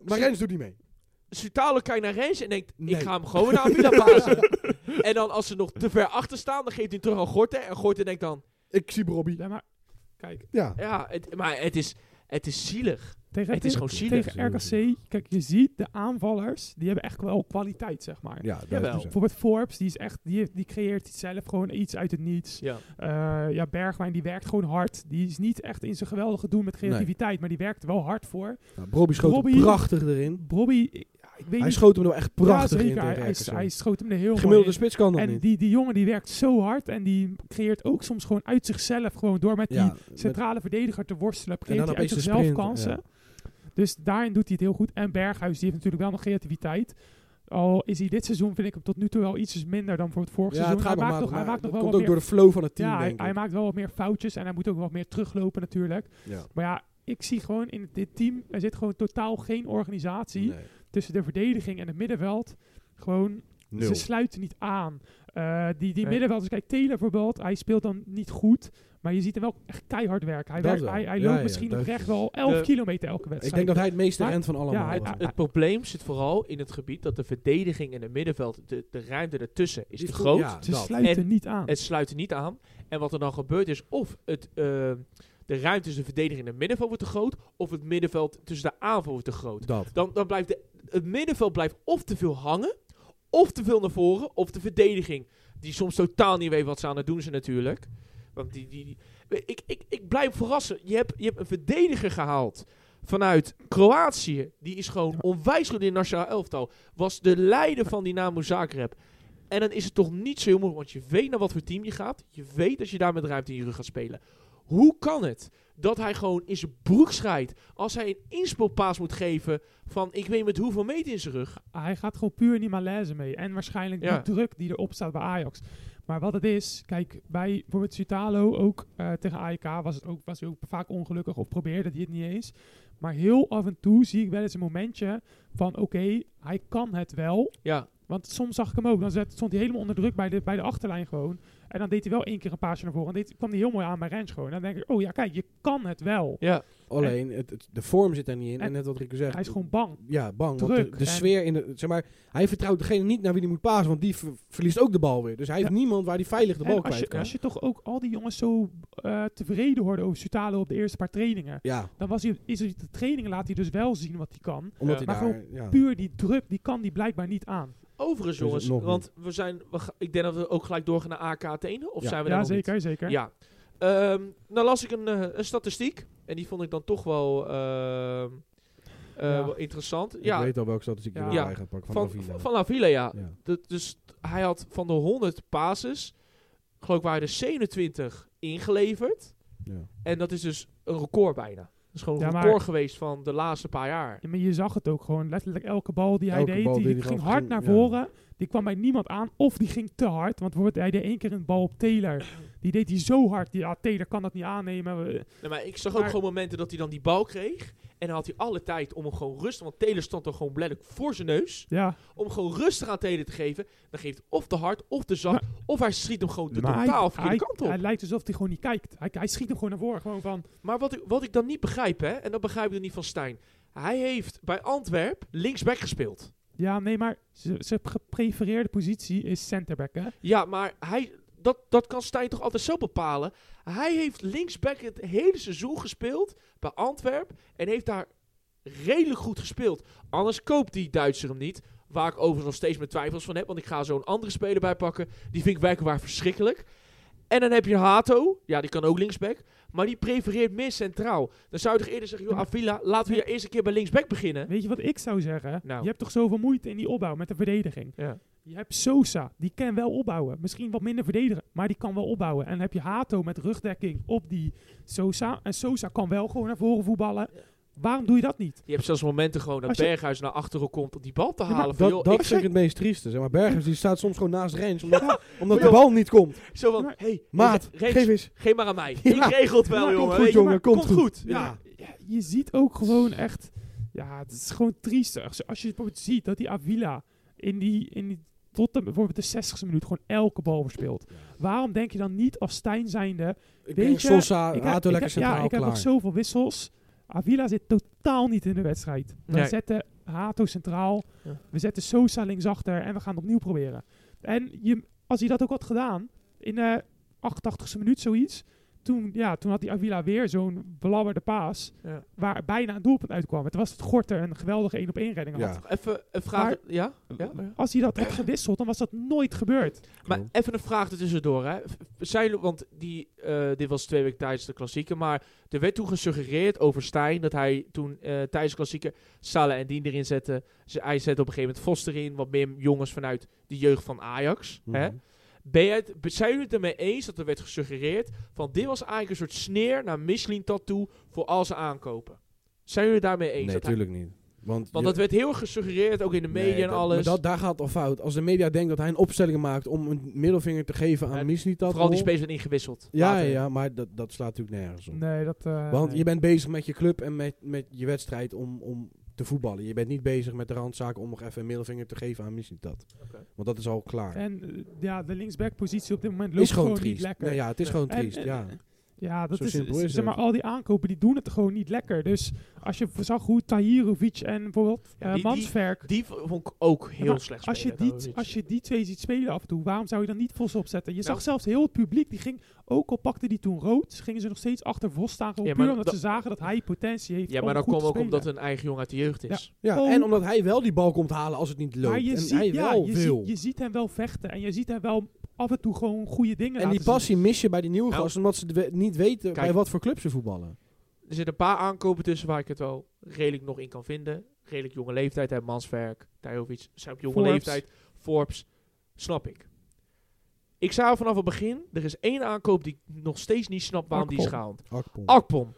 Maar Rens doet niet mee. Sutalo kijkt naar Rens en denkt, Nee. ik ga hem gewoon naar Avila pasen. en dan als ze nog te ver achter staan, dan geeft hij terug aan Gorten. En Gorten denkt dan, Ik zie Robbie. Ja, maar kijk, Ja. ja, het, maar het is... Het is zielig. Tegen, Het is gewoon zielig. tegen RKC, kijk, je ziet de aanvallers, die hebben echt wel kwaliteit, zeg maar. Ja, dat Jawel. is het. Bijvoorbeeld Forbes, die, is echt, die, heeft- die creëert zelf gewoon iets uit het niets. Ja. Eh, ja, Bergwijn, die werkt gewoon hard. Die is niet echt in zijn geweldige doen met creativiteit, maar die werkt er wel hard voor. Nou, Brobbey schoot hem Brobbey- prachtig erin. Bobby, ik, ja, ik weet Hij niet... schoot hem er wel echt prachtig Ja, in zeker. tegen Hij, hij, RKC. hij schoot hem er heel mooi Gemiddelde in. spits kan dat En niet. die, die jongen die werkt zo hard en die creëert ook soms gewoon uit zichzelf, gewoon door met die ja, met- centrale verdediger te worstelen, dan creëert hij uit opeens de zichzelf sprint, kansen. Dus daarin doet hij het heel goed. En Berghuis, die heeft natuurlijk wel nog creativiteit. Al is hij dit seizoen, vind ik hem tot nu toe wel iets minder dan voor het vorige ja, het seizoen. gaat hij nog maar, maakt nog, hij maar maakt dat nog wel komt wat ook meer, door de flow van het team, ja, hij, denk hij ik. maakt wel wat meer foutjes en hij moet ook wat meer teruglopen natuurlijk. Ja. Maar ja, ik zie gewoon in dit team, er zit gewoon totaal geen organisatie Nee. tussen de verdediging en het middenveld. Gewoon Nul. ze sluiten niet aan. Eh, die die Nee. middenvelders, kijk, Taylor bijvoorbeeld, hij speelt dan niet goed. Maar je ziet hem wel echt keihard werken. Hij, Dat werkt, wel. hij, hij Ja, loopt ja, misschien dat oprecht is- wel 11 De- kilometer elke wedstrijd. Ik denk dat hij het meeste Maar- rent van allemaal. hij- was. hij- Het probleem zit vooral in het gebied dat de verdediging en het middenveld, de, de ruimte ertussen, is Die te vo- groot. ja, Ze dat. sluiten niet aan. Het sluit er niet aan. En wat er dan gebeurt is of het, eh, de ruimte tussen de verdediging en het middenveld wordt te groot, of het middenveld tussen de aanval wordt te groot. Dat. Dan, dan blijft de, het middenveld blijft of te veel hangen, of te veel naar voren, of de verdediging. Die soms totaal niet weet wat ze aan het doen zijn natuurlijk. Want die, die, die- ik, ik, ik blijf verrassen. Je hebt, je hebt een verdediger gehaald vanuit Kroatië. Die is gewoon onwijs goed in het nationaal elftal. Was de leider van Dynamo Zagreb. En dan is het toch niet zo heel moeilijk. Want je weet naar wat voor team je gaat. Je weet dat je daar met ruimte in je rug gaat spelen. Hoe kan het dat hij gewoon in zijn broek schrijdt als hij een inspelpaas moet geven van ik weet met hoeveel meter in zijn rug? Hij gaat gewoon puur in die malaise mee. En waarschijnlijk Ja. die druk die erop staat bij Ajax. Maar wat het is, kijk, bij bijvoorbeeld Sutalo ook eh, tegen AEK was, het ook, was hij ook vaak ongelukkig of probeerde hij het niet eens. Maar heel af en toe zie ik wel eens een momentje van oké, hij kan het wel. Ja, Want soms zag ik hem ook. Dan zet- stond hij helemaal onder druk bij de, bij de achterlijn gewoon. En dan deed hij wel één keer een paasje naar voren. En deed, kwam hij heel mooi aan bij Rens gewoon. En dan denk ik, oh ja, kijk, je kan het wel. ja. Alleen, het, het- de vorm zit daar niet in. En En- net wat Rico zegt. Hij is gewoon bang. Ja, bang. want de- druk de, en- sfeer in de... Zeg maar, hij vertrouwt degene niet naar wie hij moet pasen. Want die ver- verliest ook de bal weer. Dus hij heeft niemand waar hij veilig de bal En als, kwijt je, kan. als je toch ook al die jongens zo eh, tevreden hoorde over Sutalo op de eerste paar trainingen. Ja, Dan was hij, is hij de trainingen laat hij dus wel zien wat hij kan. omdat Ja. hij Maar daar... Ja. Puur die druk, die kan die blijkbaar niet aan. Overigens Dus jongens, nog niet. want we zijn, we ga- ik denk dat we ook gelijk doorgaan naar AK Athene. Of Ja. zijn we daar Ja, nog niet? zeker, zeker. Ja. Ehm, nou las ik een, eh, een statistiek en die vond ik dan toch wel, ehm, eh, Ja. wel interessant. Ik ja, weet al welke statistiek Ja. hij Ja. bij gaat pakken. Van, van, Avila. van Avila, ja. ja. Dat- dus t- hij had van de 100 passes, geloof ik waren er 27 ingeleverd. Ja. En dat is dus een record bijna. Dat is gewoon een Ja, maar- record geweest van de laatste paar jaar. Ja, maar je zag het ook gewoon. Letterlijk elke bal die hij Elke deed, bal die, die hij ging gaf, hard ging- naar ja. voren. Die kwam bij niemand aan. Of die ging te hard. Want bijvoorbeeld, hij deed één keer een bal op Taylor. Die deed hij zo hard. Ja, Taylor kan dat niet aannemen. We- Nee, maar ik zag ook Maar- gewoon momenten dat hij dan die bal kreeg. En dan had hij alle tijd om hem gewoon rustig... Want Taylor stond er gewoon letterlijk voor zijn neus. Ja, Om gewoon rustig aan Taylor te geven. Dan geeft hij of te hard, of te zacht. Of hij schiet hem gewoon de Maar hij- totaal verkeerde hij, kant op. hij lijkt alsof hij gewoon niet kijkt. Hij, hij schiet hem gewoon naar voren. Gewoon van, Maar wat ik, wat ik dan niet begrijp, hè. En dat begrijp ik dan niet van Stijn. Hij heeft bij Antwerp linksback gespeeld. ja, nee, maar zijn zijn geprefereerde positie is centerback, hè? Ja, maar hij, dat, dat kan Stijn toch altijd zo bepalen. Hij heeft linksback het hele seizoen gespeeld bij Antwerp. En heeft daar redelijk goed gespeeld. Anders koopt die Duitser hem niet. Waar ik overigens nog steeds mijn twijfels van heb. Want ik ga zo'n andere speler bij pakken. Die vind ik werkenwaar verschrikkelijk. En dan heb je Hato. Ja, die kan ook linksback. Maar die prefereert meer centraal. Dan zou je toch eerder zeggen, joh, Avila, laten we je eerst een keer bij linksback beginnen. Weet je wat ik zou zeggen? Nou. Je hebt toch zoveel moeite in die opbouw met de verdediging. Ja. Je hebt Sosa, die kan wel opbouwen. Misschien wat minder verdedigen, maar die kan wel opbouwen. En dan heb je Hato met rugdekking op die Sosa. En Sosa kan wel gewoon naar voren voetballen. Waarom doe je dat niet? Je hebt zelfs momenten gewoon dat Als je- Berghuis naar achteren komt om die bal te maar halen. van, joh, Dat, dat ik vind ik het meest trieste. Zeg maar, Bergers die staat soms gewoon naast Rens. Omdat, omdat de joh. bal niet komt. Zo van, Maar- hey, Maat, Rens, geef eens. geef maar aan mij. Ja. Ik regel het wel, Ja, jongen. komt weet goed, je, jongen. maar Komt goed. Ja. Ja. Ja, je ziet ook gewoon echt... Ja, het is gewoon triestig. Als je bijvoorbeeld ziet dat die Avila in die... In die tot de, bijvoorbeeld de 60ste minuut gewoon elke bal verspeelt. Waarom denk je dan niet als Stijn zijnde... Ik Weet denk je, Sosa, Ik Hato ik Oh, lekker centraal Ja, ik heb klaar. nog zoveel wissels. Avila zit totaal niet in de wedstrijd. We Nee. zetten Hato centraal. Ja. We zetten Sosa linksachter. En we gaan het opnieuw proberen. En je, als hij dat ook had gedaan. In de 88ste minuut zoiets. toen, ja, toen had die Avila weer zo'n belabberde paas. Ja. Waar bijna een doelpunt uitkwam. Het was het Gorter een geweldige 1 op 1 redding had. Ja, Even een vraag. Maar- ja? Ja? ja? Als hij dat had gewisseld, dan was dat nooit gebeurd. Maar klopt. even een vraag er tussendoor. Hè. V- Zijn, jullie- want die, eh, dit was twee weken tijdens de klassieke. Maar er werd toen gesuggereerd over Stijn. Dat hij toen eh, tijdens de klassieke Salah en Dien erin zette. Ze- hij zette op een gegeven moment Foster in. Wat meer jongens vanuit de jeugd van Ajax. hè. Mhm. Ben jij het, be- zijn jullie het ermee eens dat er werd gesuggereerd. Van dit was eigenlijk een soort sneer naar Michelin toe voor al zijn aankopen. Zijn jullie het daarmee eens? Nee, dat hij- natuurlijk niet. Want, want je- dat werd heel erg gesuggereerd. Ook in de Nee, media en dat- alles. Maar dat, daar gaat het al fout. Als de media denkt dat hij een opstelling maakt om een middelvinger te geven aan Ja, ja, Mislitat. Vooral die spelers werden ingewisseld. Ja, ja, later. ja, maar dat, dat slaat natuurlijk nergens op. Nee, dat... eh, Want nee. je bent bezig met je club en met, met je wedstrijd om, om te voetballen. Je bent niet bezig met de randzaak om nog even een middelvinger te geven aan Mislitat. Oké. Want dat is al klaar. En eh, ja, de linksback-positie op dit moment loopt is gewoon, niet triest. lekker. Nee, ja, het is Ja. gewoon En- triest. en- ja. Ja, dat Zo is, simpel is zeg maar, het. al die aankopen die doen het gewoon niet lekker. Dus als je zag hoe Tahirovic en bijvoorbeeld Ja, die- eh, die- Mansverk... Die v- vond ik ook heel Maar slecht als je, spelen, die, Tahirovic. als je die twee ziet spelen af en toe, waarom zou je dan niet Vos opzetten? Je Nou. zag zelfs heel het publiek, die ging, ook al pakte die toen rood, gingen ze nog steeds achter Vos staan. Gewoon Ja, maar puur omdat dat- ze zagen dat hij potentie heeft Ja, om maar dan goed komt te ook omdat spelen. een eigen jongen uit de jeugd is. Ja, Ook- en omdat hij wel die bal komt halen als het niet loopt. Maar je, en ziet, hij ja, wel je, wil. ziet, je ziet hem wel vechten en je ziet hem wel af en toe gewoon goede dingen en die laten zien. passie mis je bij die nieuwe Nou. gasten, omdat ze de- niet weten Kijk. bij wat voor club ze voetballen. Er zitten een paar aankopen tussen waar ik het wel redelijk nog in kan vinden. Redelijk jonge leeftijd, hè, Mansverk, Tajovic, zijn op jonge Forbes. leeftijd. Forbes, snap ik. Ik zei al vanaf het begin, er is één aankoop die ik nog steeds niet snap waarom die is Akpom. gehaald. Akpom. Akpom,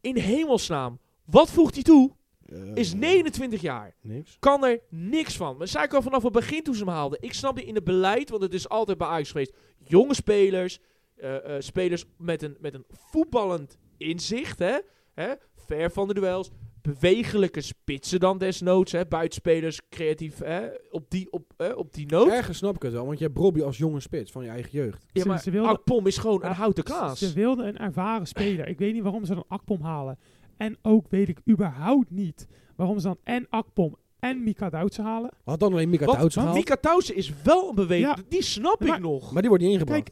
in hemelsnaam, wat voegt hij toe? Eh, Is 29 jaar. Niks. kan er niks van. Maar zei ik al vanaf het begin toen ze hem haalden. Ik snap die in het beleid, want het is altijd bij Ajax geweest. Jonge spelers, eh, eh, spelers met een, met een voetballend inzicht, hè? hè? Ver van de duels, bewegelijke spitsen dan desnoods, hè? Buitenspelers, creatief, hè? Op die, op, hè? Op die noot. Ergens snap ik het wel, want je hebt Robbie als jonge spits van je eigen jeugd. ja, ze- maar ze wilden- Akpom is gewoon Ja, een houten Ze kaas. wilden een ervaren speler. Ik weet niet waarom ze dan Akpom halen. En ook weet ik überhaupt niet waarom ze dan en Akpom en Mika Doutsen halen. Had dan alleen Mika Wat? Touts gehaald, Mika Tausen is wel een beweging. Ja. Die snap Maar- ik nog. maar die wordt niet ingebracht.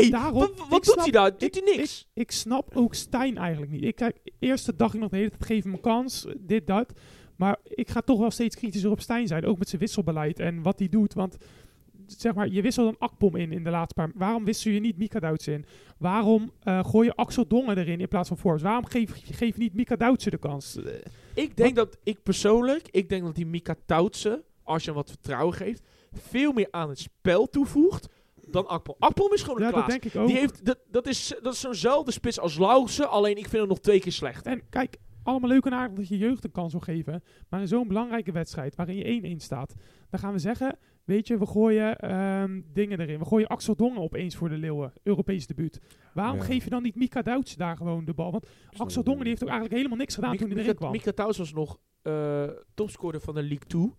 nee, daarom- wat, wat ik doet snap- hij daar? Doet ik- hij niks? Ik snap ook Stijn eigenlijk niet. Ik kijk, eerste dag ik nog de hele tijd geef hem een kans, eh, dit, dat. Maar ik ga toch wel steeds kritischer op Stijn zijn. Ook met zijn wisselbeleid en wat hij doet. Want zeg maar, je wisselt dan Akpom in in de laatste paar... Waarom wissel je niet Mika Doutsen in? Waarom eh, gooi je Axel Dongen erin in plaats van Forbes? Waarom geef, geef je niet Mika Doutsen de kans? Ik denk dat ik persoonlijk, ik denk dat die Mika Tautse, als je hem wat vertrouwen geeft, veel meer aan het spel toevoegt dan Akpom. Akpom is gewoon een ja, klaas. dat denk ik ook. Die heeft, dat, dat is, dat is zo'nzelfde spits als Lauwse, alleen ik vind hem nog twee keer slecht. En kijk, allemaal leuk en aardig dat je jeugd een kans wil geven. Maar in zo'n belangrijke wedstrijd waarin je 1-1 staat, dan gaan we zeggen: Weet je, we gooien ehm, dingen erin. We gooien Axel Dongen opeens voor de Leeuwen, Europees debuut. Waarom Ja. eh, geef je dan niet Mika Duits daar gewoon de bal? Want Axel ik Dongen niet. die heeft ook eigenlijk helemaal niks gedaan toen hij erin Mika, kwam. Mika Tautse was nog eh, topscorer van de League 2.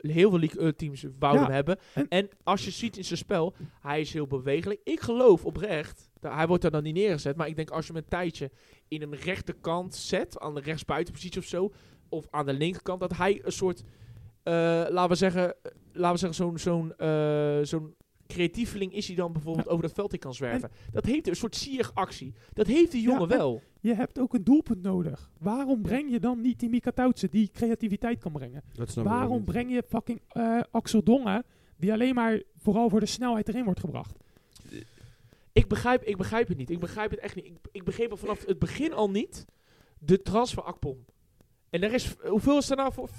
Heel veel League eh, teams wouden Ja, hem hebben. En, en- als je ziet in zijn spel, hij is heel bewegelijk. Ik geloof oprecht, da- hij wordt daar dan niet neergezet. Maar ik denk als je hem een tijdje in een rechterkant zet, aan de rechtsbuitenpositie of zo, of aan de linkerkant, dat hij een soort, eh, laten we zeggen, eh, laten we zeggen zo'n zo'n eh, zo'n creatieveling is hij dan bijvoorbeeld over dat veld in kan zwerven. dat heeft een soort sieractie. Dat heeft die Ja, jongen en- wel. Je hebt ook een doelpunt nodig. Waarom breng je dan niet die Mika Duitsen die creativiteit kan brengen? Dat snap ik ook Waarom niet. breng je fucking eh, Axel Dongen die alleen maar vooral voor de snelheid erin wordt gebracht? Ik begrijp, ik begrijp het niet. Ik begrijp het echt niet. Ik, ik begreep al vanaf het begin al niet de transfer Akpom. En er is, hoeveel is daar nou voor? 14,5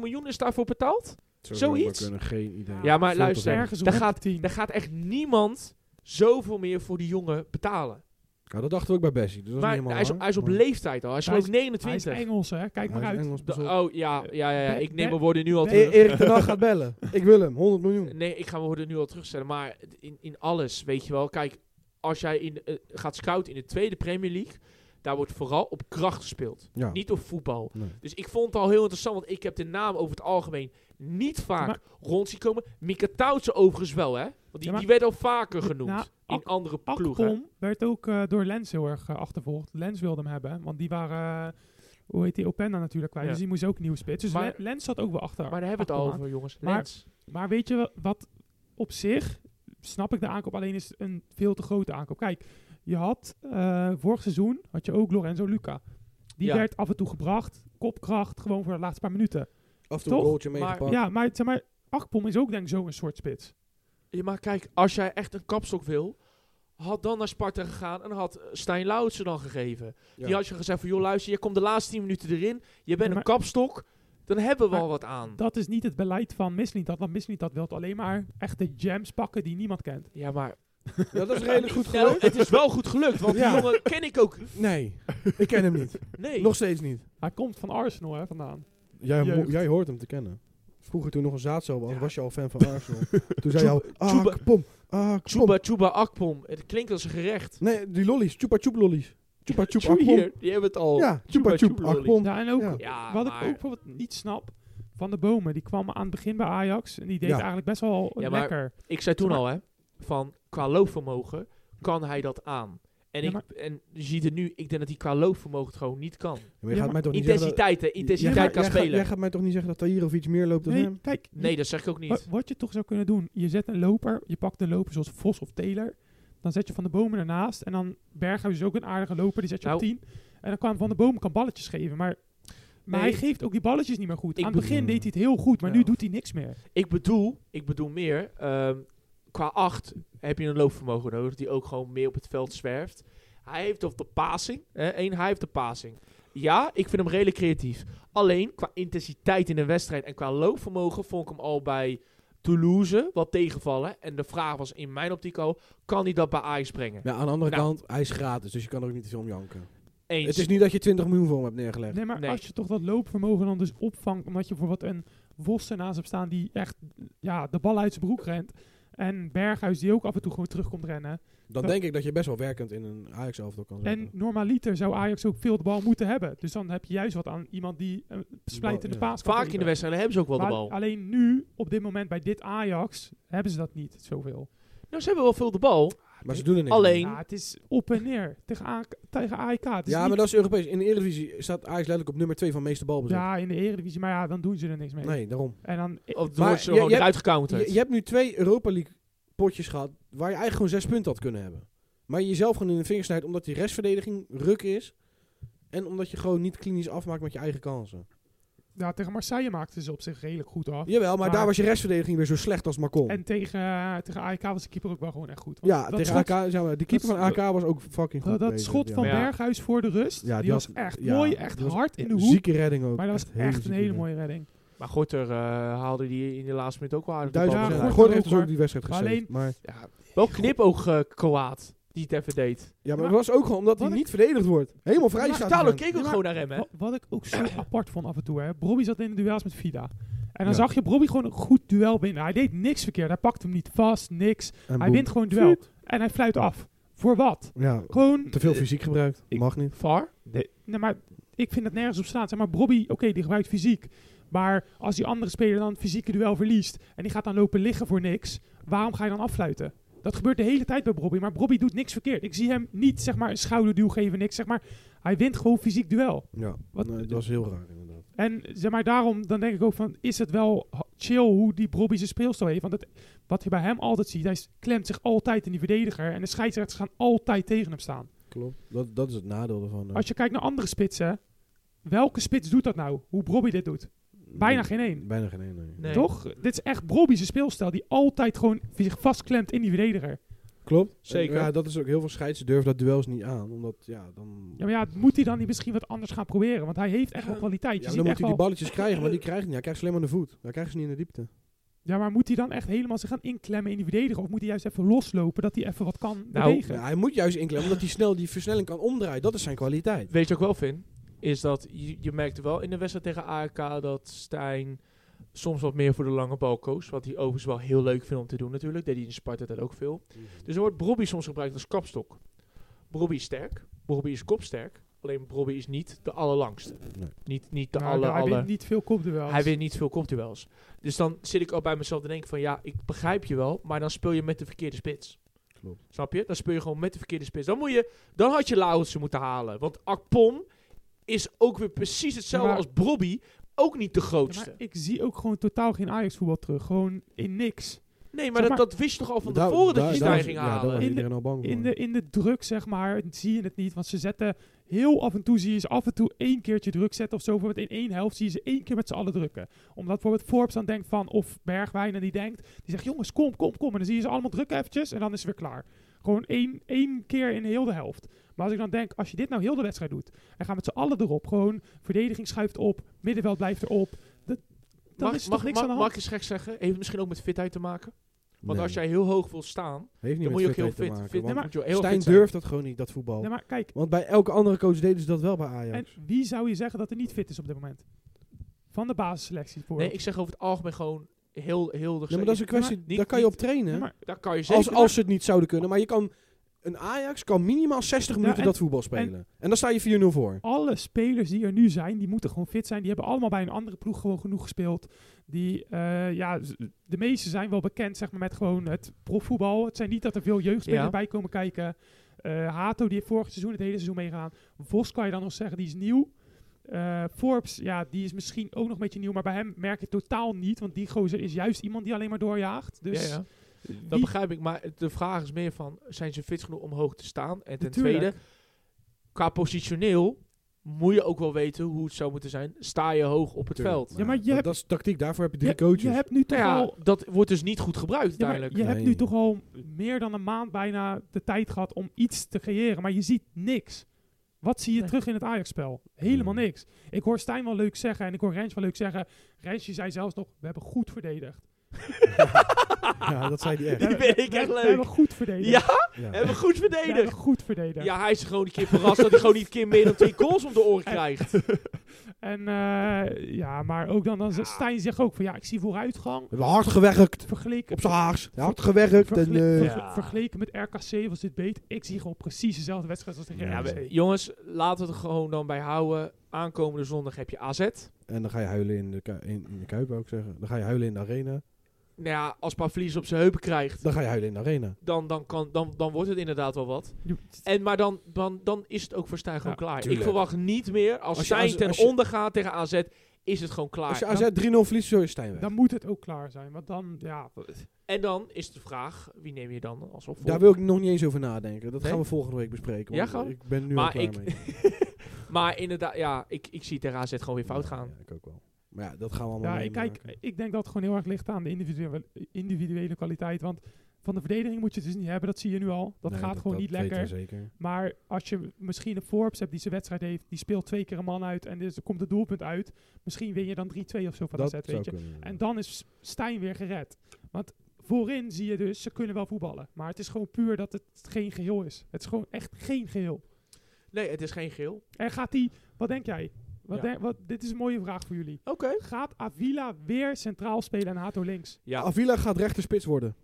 miljoen is daarvoor betaald? Zou zomaar zoiets? kunnen, geen idee. Ja, maar Veel te luister, veel. Ergens daar rond de gaat- 10. Daar gaat echt niemand zoveel meer voor die jongen betalen. Ja, dat dachten we ook bij Bessie. Dus dat is Maar niet helemaal hij is, waar, hij is op maar- leeftijd al. Hij is Hij geloof ik Hij is 29. Engels, hè? Kijk maar Hij is uit. Engels Da- bezorgd. Eh, oh, ja, ja, ja, ja. Ben- Ik neem Ben- mijn woorden nu al E- terug. Erik de Dag gaat bellen. Ik wil hem, 100 miljoen. Nee, ik ga mijn woorden nu al terugstellen. Maar in, in alles, weet je wel. Kijk, als jij in, eh, gaat scouten in de tweede Premier League... daar wordt vooral op kracht gespeeld. Ja. Niet op voetbal. Oh. Nee. Dus ik vond het al heel interessant, want ik heb de naam over het algemeen niet vaak Maar- rond zien komen. Mika Tautse overigens wel, hè? Want die, Ja, maar- die werd al vaker genoemd Nou, in Ak- andere ploegen. Akpom werd ook eh, door Lens heel erg eh, achtervolgd. Lens wilde hem hebben, want die waren, eh, hoe heet die, Openda natuurlijk kwijt. Ja. Dus die moest ook nieuw spits. Dus Maar- Le- Lens zat ook wel achter. Maar daar hebben we het Akpom al aan. over, jongens. Maar- Lens. Maar weet je wel, wat op zich, snap ik de aankoop, alleen is het een veel te grote aankoop. Kijk, Je had eh, vorig seizoen had je ook Lorenzo Luca. Die Ja. werd af en toe gebracht, kopkracht, gewoon voor de laatste paar minuten. Af en toe een Toch? goaltje Maar- meegepakt. Ja, maar, zeg maar Akpom is ook denk ik zo'n soort spits. Ja, maar kijk, als jij echt een kapstok wil, had dan naar Sparta gegaan en had eh, Stijn Lauwtsen dan gegeven. Ja. Die had je gezegd van, joh luister, je komt de laatste 10 minuten erin, je bent Ja, maar- een kapstok, dan hebben we Maar al wat aan. Dat is niet het beleid van Mislintat, want Mislintat wil alleen maar echte jams pakken die niemand kent. Ja, maar Ja, dat is redelijk goed Nou, gelukt. het is wel goed gelukt, want Ja. die jongen ken ik ook. Nee, ik ken hem niet. Nee, Nog steeds niet. Hij komt van Arsenal hè, vandaan. Jij, mo- Jeugd. jij hoort hem te kennen. Vroeger toen nog een zaadcel was, Ja. was je al fan van Arsenal. toen zei je al, ah, Chuba- pom, ah, pom. Chuba Chuba Akpom. Het klinkt als een gerecht. Nee, die lollies, chupa chup lollies. Chupa chup Chuba akpom. hier, die hebben het al. Ja, chupa chup lollies. akpom. Ja, en ook, Ja. Ja, wat maar- ik ook bijvoorbeeld niet snap, Van de Bomen, die kwam aan het begin bij Ajax en die deed Ja. eigenlijk best wel Ja, maar- lekker. Ik zei toen Maar- al, hè, van qua loopvermogen kan hij dat aan. En, Ja, ik, maar- en je ziet het nu, ik denk dat hij qua loopvermogen het gewoon niet kan. Maar je Ja, gaat mij toch niet zeggen dat- Intensiteit, hè, Jij intensiteit gaat- kan jij gaat- spelen. Jij gaat mij toch niet zeggen dat Tahirovic meer loopt dan Nee, hem? kijk, je- nee, dat zeg ik ook niet. wa- wat je toch zou kunnen doen, je zet een loper, je pakt een loper zoals Vos of Taylor, dan zet je Van de Bomen ernaast en dan Berghuis is ook een aardige loper, die zet je op Nou. 10. En dan kwam Van de Bomen, kan balletjes geven, maar... Maar Nee. hij geeft ook die balletjes niet meer goed. Ik Aan het bedoel- begin deed hij het heel goed, maar Ja. nu doet hij niks meer. Ik bedoel, ik bedoel meer, ehm, qua acht heb je een loopvermogen nodig die ook gewoon meer op het veld zwerft. Hij heeft op de passing, hè, één, hij heeft de passing. Ja, ik vind hem redelijk creatief. Alleen qua intensiteit in een wedstrijd en qua loopvermogen vond ik hem al bij Toulouse wat tegenvallen. En de vraag was in mijn optiek al, kan hij dat bij Ajax brengen? Ja, aan de andere Nou. kant, hij is gratis, dus je kan er ook niet te veel om janken. Eens. Het is niet dat je 20 miljoen voor hem hebt neergelegd. Nee, maar Nee. als je toch dat loopvermogen dan dus opvangt, omdat je bijvoorbeeld een Vos ernaast hebt staan die echt ja, de bal uit zijn broek rent. En Berghuis die ook af en toe gewoon terugkomt rennen. Dan denk ik dat je best wel werkend in een ajax elftal kan zijn. En normaliter zou Ajax ook veel de bal moeten hebben. Dus dan heb je juist wat aan iemand die een splijtende Die bal, paas kan Vaak in de geven. wedstrijden hebben ze ook wel de Maar bal. Alleen nu, op dit moment bij dit Ajax, hebben ze dat niet zoveel. Nou, ze hebben wel veel de bal. Maar ze doen er niks Alleen- mee. Ja, het is op en neer tegen, A- tegen AEK. Het is Ja, niet- maar dat is Europees. In de Eredivisie staat Ajax letterlijk op nummer 2 van meeste balbezit. ja, in de Eredivisie, maar ja, dan doen ze er niks mee. Nee, daarom. En dan, Of dan Maar wordt ze je- gewoon je eruit gecounterd. Je, je hebt nu twee Europa League potjes gehad waar je eigenlijk gewoon zes punten had kunnen hebben. Maar je jezelf gewoon in de vingers snijdt omdat die restverdediging ruk is. En omdat je gewoon niet klinisch afmaakt met je eigen kansen. ja, tegen Marseille maakten ze op zich redelijk goed af. Jawel, maar, Maar- daar was je restverdediging weer zo slecht als Macon. En tegen, eh, tegen AEK was de keeper ook wel gewoon echt goed. Want ja, dat tegen schot, AK. Zeg maar, de keeper dat- van AK was ook fucking goed. Dat, dat bezig, schot ja. van Ja. Berghuis voor de rust, Ja, die, die was had- echt ja, mooi, echt die was hard in de hoek. Zieke redding ook. Maar dat was hele echt een zieke hele redding. mooie redding. Maar Gorter eh, haalde die in de laatste minuut ook wel aardig de Duizend bal. Ja, binnen. procent. Gort Gort- heeft dus ook, ook die wedstrijd maar gesaved. Maar, Ja, wel knipoog eh Kroaat, die het even deed. ja, maar maar- het was ook gewoon omdat hij Wat ik- niet verdedigd wordt. Helemaal vrij Maar staat. Talo hij dan. keek ook Ja, gewoon naar hem, hè? Wa- Wat ik ook zo apart vond af en toe. Hè. Bobby zat in de duels met Vida. En dan Ja. zag je Bobby gewoon een goed duel winnen. Hij deed niks verkeerd. Hij pakte hem niet vast, niks. En hij boem. wint gewoon een duel. En hij fluit af. Voor wat? Ja, Gewoon... te veel fysiek gebruikt. ik- Mag niet. VAR? Nee, maar ik vind het nergens op staan. Zeg maar, Bobby, oké, die gebruikt fysiek. Maar als die andere speler dan het fysieke duel verliest... en die gaat dan lopen liggen voor niks... waarom ga je dan affluiten? Dat gebeurt de hele tijd bij Bobby. Maar Bobby doet niks verkeerd. Ik zie hem niet zeg maar, een schouderduw geven, niks. Zeg maar, hij wint gewoon fysiek duel. Ja, Wat- nee, dat was heel raar inderdaad. En zeg maar, daarom dan denk ik ook van... is het wel ha- chill hoe die Bobby zijn speelstijl heeft? Want het, wat je bij hem altijd ziet... hij s- klemt zich altijd in die verdediger... en de scheidsrechters gaan altijd tegen hem staan. Klopt. Dat, dat is het nadeel ervan. eh. Als je kijkt naar andere spitsen... welke spits doet dat nou? Hoe Bobby dit doet? Bijna geen één. Bijna geen één, nee. Nee. Toch? Dit is echt Bobby's speelstijl. Die altijd gewoon zich vastklemt in die verdediger. Klopt. Zeker. Ja, dat is ook heel veel scheids durven dat duels niet aan. Omdat, ja, dan... Ja, maar ja, moet hij dan niet misschien wat anders gaan proberen? Want hij heeft echt wel kwaliteit. Je Ja, maar ziet dan moet echt hij die wel- balletjes krijgen, maar die krijgt hij niet. Hij krijgt ze alleen maar aan de voet. Hij krijgt ze niet in de diepte. ja, maar moet hij dan echt helemaal zich gaan inklemmen in die verdediger? Of moet hij juist even loslopen dat hij even wat kan bewegen? Nou, Ja, hij moet juist inklemmen, omdat hij snel die versnelling kan omdraaien. Dat is zijn kwaliteit. Weet je ook wel, Vin? Is dat, je, je merkte wel in de wedstrijd tegen AEK dat Stijn soms wat meer voor de lange bal koos. Wat hij overigens wel heel leuk vindt om te doen natuurlijk. Deed hij in Sparta dat ook veel. Dus dan wordt Bobby soms gebruikt als kapstok. Bobby is sterk. Bobby is kopsterk. Alleen Bobby is niet de allerlangste. Nee. Niet, niet de Nou, aller, hij aller... wint niet veel kopduels. Hij wint niet veel kopduels. Dus dan zit ik ook bij mezelf te denken van ja, ik begrijp je wel, maar dan speel je met de verkeerde spits. Klopt. Snap je? Dan speel je gewoon met de verkeerde spits. Dan, moet je, dan had je Lauwertsen moeten halen. Want Akpom is ook weer precies hetzelfde Ja, maar- als Brobby. Ook niet de Ja, maar grootste. ik zie ook gewoon totaal geen Ajax voetbal terug. Gewoon in niks. Nee, maar, Zeg dat, maar- dat wist je toch al van Daar- tevoren dat daar- je die daar- stijging Ja, daar was halen? In de- iedereen al bang voor. In de, in de druk, zeg maar, zie je het niet. Want ze zetten heel af en toe, zie je ze af en toe één keertje druk zetten of zo. Bijvoorbeeld in één helft zie je ze één keer met z'n allen drukken. Omdat bijvoorbeeld Forbes dan denkt van, of Bergwijn en die denkt, die zegt jongens, kom, kom, kom. En dan zie je ze allemaal drukken eventjes en dan is het weer klaar. Gewoon één, één keer in heel de helft. Maar als ik dan denk, als je dit nou heel de wedstrijd doet, en gaan met z'n allen erop. Gewoon, verdediging schuift op, middenveld blijft erop. Dat, dan Mag, is er mag, toch niks mag, aan de mag hand. ik eens gek zeggen? Heeft misschien ook met fitheid te maken? Want Nee, als jij heel hoog wil staan, heeft niet dan met moet je ook heel fitheid te fit, maken, fit, want dan moet je heel Stijn fit zijn. durft dat gewoon niet, dat voetbal. Nee, maar kijk, Want bij elke andere coach deden ze dat wel bij Ajax. en wie zou je zeggen dat er niet fit is op dit moment? Van de basisselectie voor. Nee, ik zeg over het algemeen gewoon heel, heel de Nee, maar dat is een kwestie, maar niet- daar kan je op niet- trainen. Ja, maar Daar kan je zeker... als, als ze het niet zouden kunnen. Maar je kan, een Ajax kan minimaal 60 Ja, minuten en- dat voetbal spelen. En, dan sta je 4-0 voor. alle spelers die er nu zijn, die moeten gewoon fit zijn. Die hebben allemaal bij een andere ploeg gewoon genoeg gespeeld. Die, eh, ja, z- de meeste zijn wel bekend zeg maar, met gewoon het profvoetbal. Het zijn niet dat er veel jeugdspelers Ja. bij komen kijken. Eh, Hato, die heeft vorig seizoen het hele seizoen meegegaan. Vos kan je dan nog zeggen, die is nieuw. Eh, Forbes, ja, die is misschien ook nog een beetje nieuw. Maar bij hem merk je het totaal niet. Want die gozer is juist iemand die alleen maar doorjaagt. Dus ja, ja. Dat wie- begrijp ik, maar de vraag is meer van, zijn ze fit genoeg om hoog te staan? En ten Natuurlijk. tweede, qua positioneel moet je ook wel weten hoe het zou moeten zijn. Sta je hoog op het veld? Ja, maar je dat, hebt- dat is tactiek, daarvoor heb je je, drie coaches. je hebt nu toch Nou ja, al dat wordt dus niet goed gebruikt Ja, maar uiteindelijk. je Nee. hebt nu toch al meer dan een maand bijna de tijd gehad om iets te creëren, maar je ziet niks. Wat zie je Nee. terug in het Ajax-spel? Helemaal Nee. niks. Ik hoor Stijn wel leuk zeggen en ik hoor Rens wel leuk zeggen. Rens, je zei zelfs nog, we hebben goed verdedigd. ja, dat zei die echt. Die We- vind we- ik we- echt We leuk. hebben goed verdedigd. Ja, Ja. Hebben we goed we hebben verdedigd. goed verdedigd. Ja, hij is gewoon een keer verrast dat hij gewoon niet een keer meer dan twee goals om de oren En- krijgt. En eh, ja, maar ook dan, dan zegt Stijn zegt ook van ja, ik zie vooruitgang. We hebben hard gewerkt. Vergeleken, Op zijn haars. Hard gewerkt. En, vergele- eh, verge- vergeleken met RKC was dit beter. Ik zie gewoon precies dezelfde wedstrijd als tegen Ja, Ja, RKC. maar jongens, laten we het er gewoon dan bij houden. Aankomende zondag heb je Nou AZ. en dan ga je huilen in de, ku- in, in de Kuip, wou ik zeggen. Dan ga je huilen in de arena. Nou ja, als Pavlidis op zijn heupen krijgt, Dan ga je huilen in de arena. dan, dan, kan, dan, dan wordt het inderdaad wel wat. Je- En, maar dan, dan, dan is het ook voor Stijn gewoon Ja, klaar. tuurlijk. Ik verwacht niet meer, als, Als je- Stijn als- ten als je- onder gaat tegen AZ, is het gewoon klaar. Als je AZ 3-0 verliest, zo is Stijn weg. Dan moet het ook klaar zijn, want dan, ja, en dan is de vraag, wie neem je dan als opvolger? Daar wil ik nog niet eens over nadenken. Dat Nee? gaan we volgende week bespreken. Ja, want gewoon. ik ben nu Maar al klaar ik- mee. Maar inderdaad, ja, ik, ik zie tegen AZ gewoon weer fout gaan. Ja, ik ook wel. Maar ja, dat gaan we allemaal Ja, ik, kijk, meemaken. ik denk dat het gewoon heel erg ligt aan de individuele, individuele kwaliteit. Want van de verdediging moet je het dus niet hebben, dat zie je nu al. Dat Nee, gaat gewoon niet dat weten we lekker. zeker. Maar als je misschien een Forbes hebt die zijn wedstrijd heeft, die speelt twee keer een man uit en dus er komt het doelpunt uit. Misschien win je dan 3-2 of zo van Dat de set, zou weet je. kunnen. En dan is Stijn weer gered. Want voorin zie je dus, ze kunnen wel voetballen. Maar het is gewoon puur dat het geen geheel is. Het is gewoon echt geen geheel. Nee, het is geen geel. En gaat die, wat denk jij? Wat Ja. denk- wat, dit is een mooie vraag voor jullie. Oké. Gaat Avila weer centraal spelen en Hato links? Ja, Avila gaat rechterspits worden.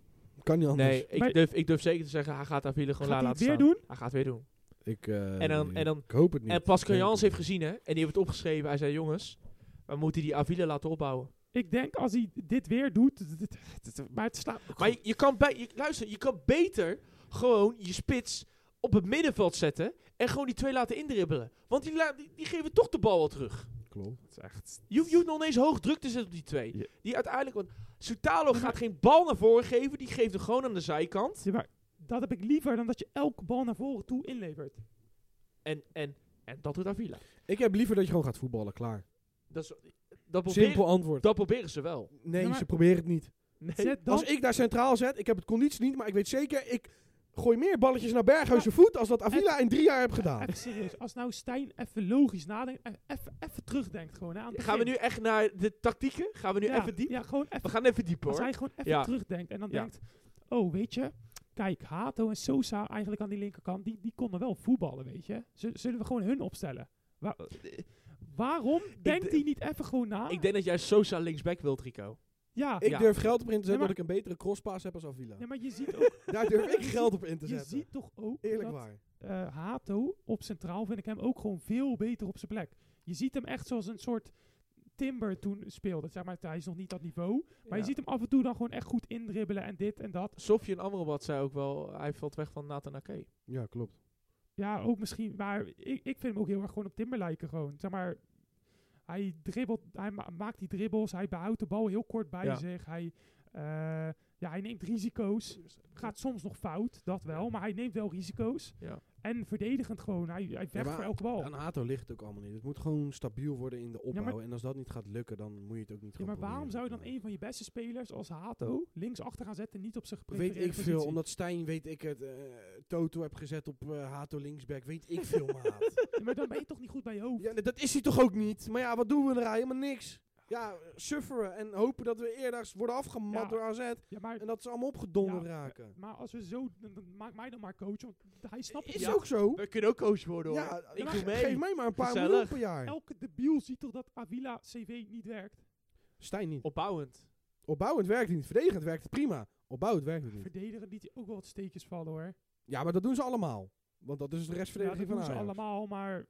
Kan niet anders. nee, Maar- ik durf, ik durf zeker te zeggen, hij gaat Avila gewoon Gaat hij laten het staan. weer doen? Hij gaat het weer doen. Ik, eh, En dan- en dan- ik hoop het niet. En Pascal Ik denk Jans het heeft gezien, hè, en die heeft het opgeschreven. Hij zei, jongens, we moeten die Avila laten opbouwen. Ik denk als hij dit weer doet, d- d- d- d- maar het slaat. Maar je, je kan bij, je, luister, je kan beter gewoon je spits op het middenveld zetten en gewoon die twee laten indribbelen. Want die, la- die, die geven toch de bal wel terug. niet. Klopt. Het is echt. Je, hoeft- je hoeft nog ineens hoog druk te zetten op die twee. Ja. Die uiteindelijk, want Soutalo gaat geen bal naar voren geven, die geeft hem gewoon aan de zijkant. Ja, maar dat heb ik liever dan dat je elke bal naar voren toe inlevert. En, en, en dat doet Avila. Ik heb liever dat je gewoon gaat voetballen, klaar. Dat, is- dat, Simpel proberen, antwoord. dat proberen ze wel. Nee, Ja, maar- ze proberen het niet. Nee. Zet dan. Als ik daar centraal zet, ik heb het conditie niet, maar ik weet zeker, ik gooi meer balletjes naar Berghuis voet als dat Avila in drie jaar heb gedaan. Even serieus, als nou Stijn even logisch nadenkt, e- even, even terugdenkt gewoon. Hè, aan het Gaan we nu begin. echt naar de tactieken? Gaan we nu ja, even diep? Ja, gewoon even. We gaan even diep Als hoor. hij gewoon even Ja. terugdenkt en dan Ja. denkt, oh weet je, kijk Hato en Sosa eigenlijk aan die linkerkant, die, die konden wel voetballen, weet je. Z- zullen we gewoon hun opstellen? Wa- waarom denkt d- hij niet even gewoon na? Eh, Ik denk dat jij Sosa linksback wilt, Rico. ja. Ik Ja. durf geld op in te zetten Ja, maar- dat ik een betere crosspaas heb als Avila. ja, maar je ziet ook Daar durf ik geld op in te Je zetten. ziet toch ook Eerlijk dat waar. eh, Hato op centraal vind ik hem ook gewoon veel beter op zijn plek. Je ziet hem echt zoals een soort Timber toen speelde. Zeg maar, hij is nog niet dat niveau. Maar je ziet hem af en toe dan gewoon echt goed indribbelen en dit en dat. Sofje en Amrabat zei ook wel, hij valt weg van Nathan Ake. Ja, klopt. Ja, ook misschien. Maar ik, ik vind hem ook heel erg gewoon op Timber lijken gewoon. Zeg maar, hij dribbelt, hij ma- maakt die dribbles, hij behoudt de bal heel kort bij Ja. zich. Hij, eh, Ja, hij neemt risico's. Gaat soms nog fout, dat wel. Maar hij neemt wel risico's. Ja. En verdedigend gewoon. Hij, hij vecht maar voor elke bal. Aan Hato ligt het ook allemaal niet. Het moet gewoon stabiel worden in de opbouw. Oh. maar- en als dat niet gaat lukken, dan moet je het ook niet Ja, gaan maar waarom zou je proberen. dan een van je beste spelers als Hato links achter gaan zetten en niet op zijn Weet geprefereerde ik positie? veel, omdat Stijn, weet ik het, eh, Toto heb gezet op eh, Hato linksback, weet ik veel, maat. Ja, maar dan ben je toch niet goed bij je hoofd? ja, dat is hij toch ook niet? Maar ja, wat doen we er Helemaal niks. Ja, sufferen en hopen dat we eerder worden afgemat Ja. door AZ. Ja, maar, En dat ze allemaal opgedonderd Ja. raken. maar als we zo... dan- dan maak mij dan maar coach, want hij snapt het Is niet. ook zo. We kunnen ook coach worden hoor. Ja, ik maar doe ge- mee. geef mij maar een paar Gezellig. miljoen per jaar. Elke debiel ziet toch dat Avila CV niet werkt? Stijn niet. Opbouwend. Opbouwend werkt het niet, verdedigend werkt het prima. Opbouwend werkt het niet. Verdedigen liet hij ook wel wat steekjes vallen hoor. Ja, maar dat doen ze allemaal. Want dat is de Ja, restverdediging dat doen van ze Ajax. allemaal, maar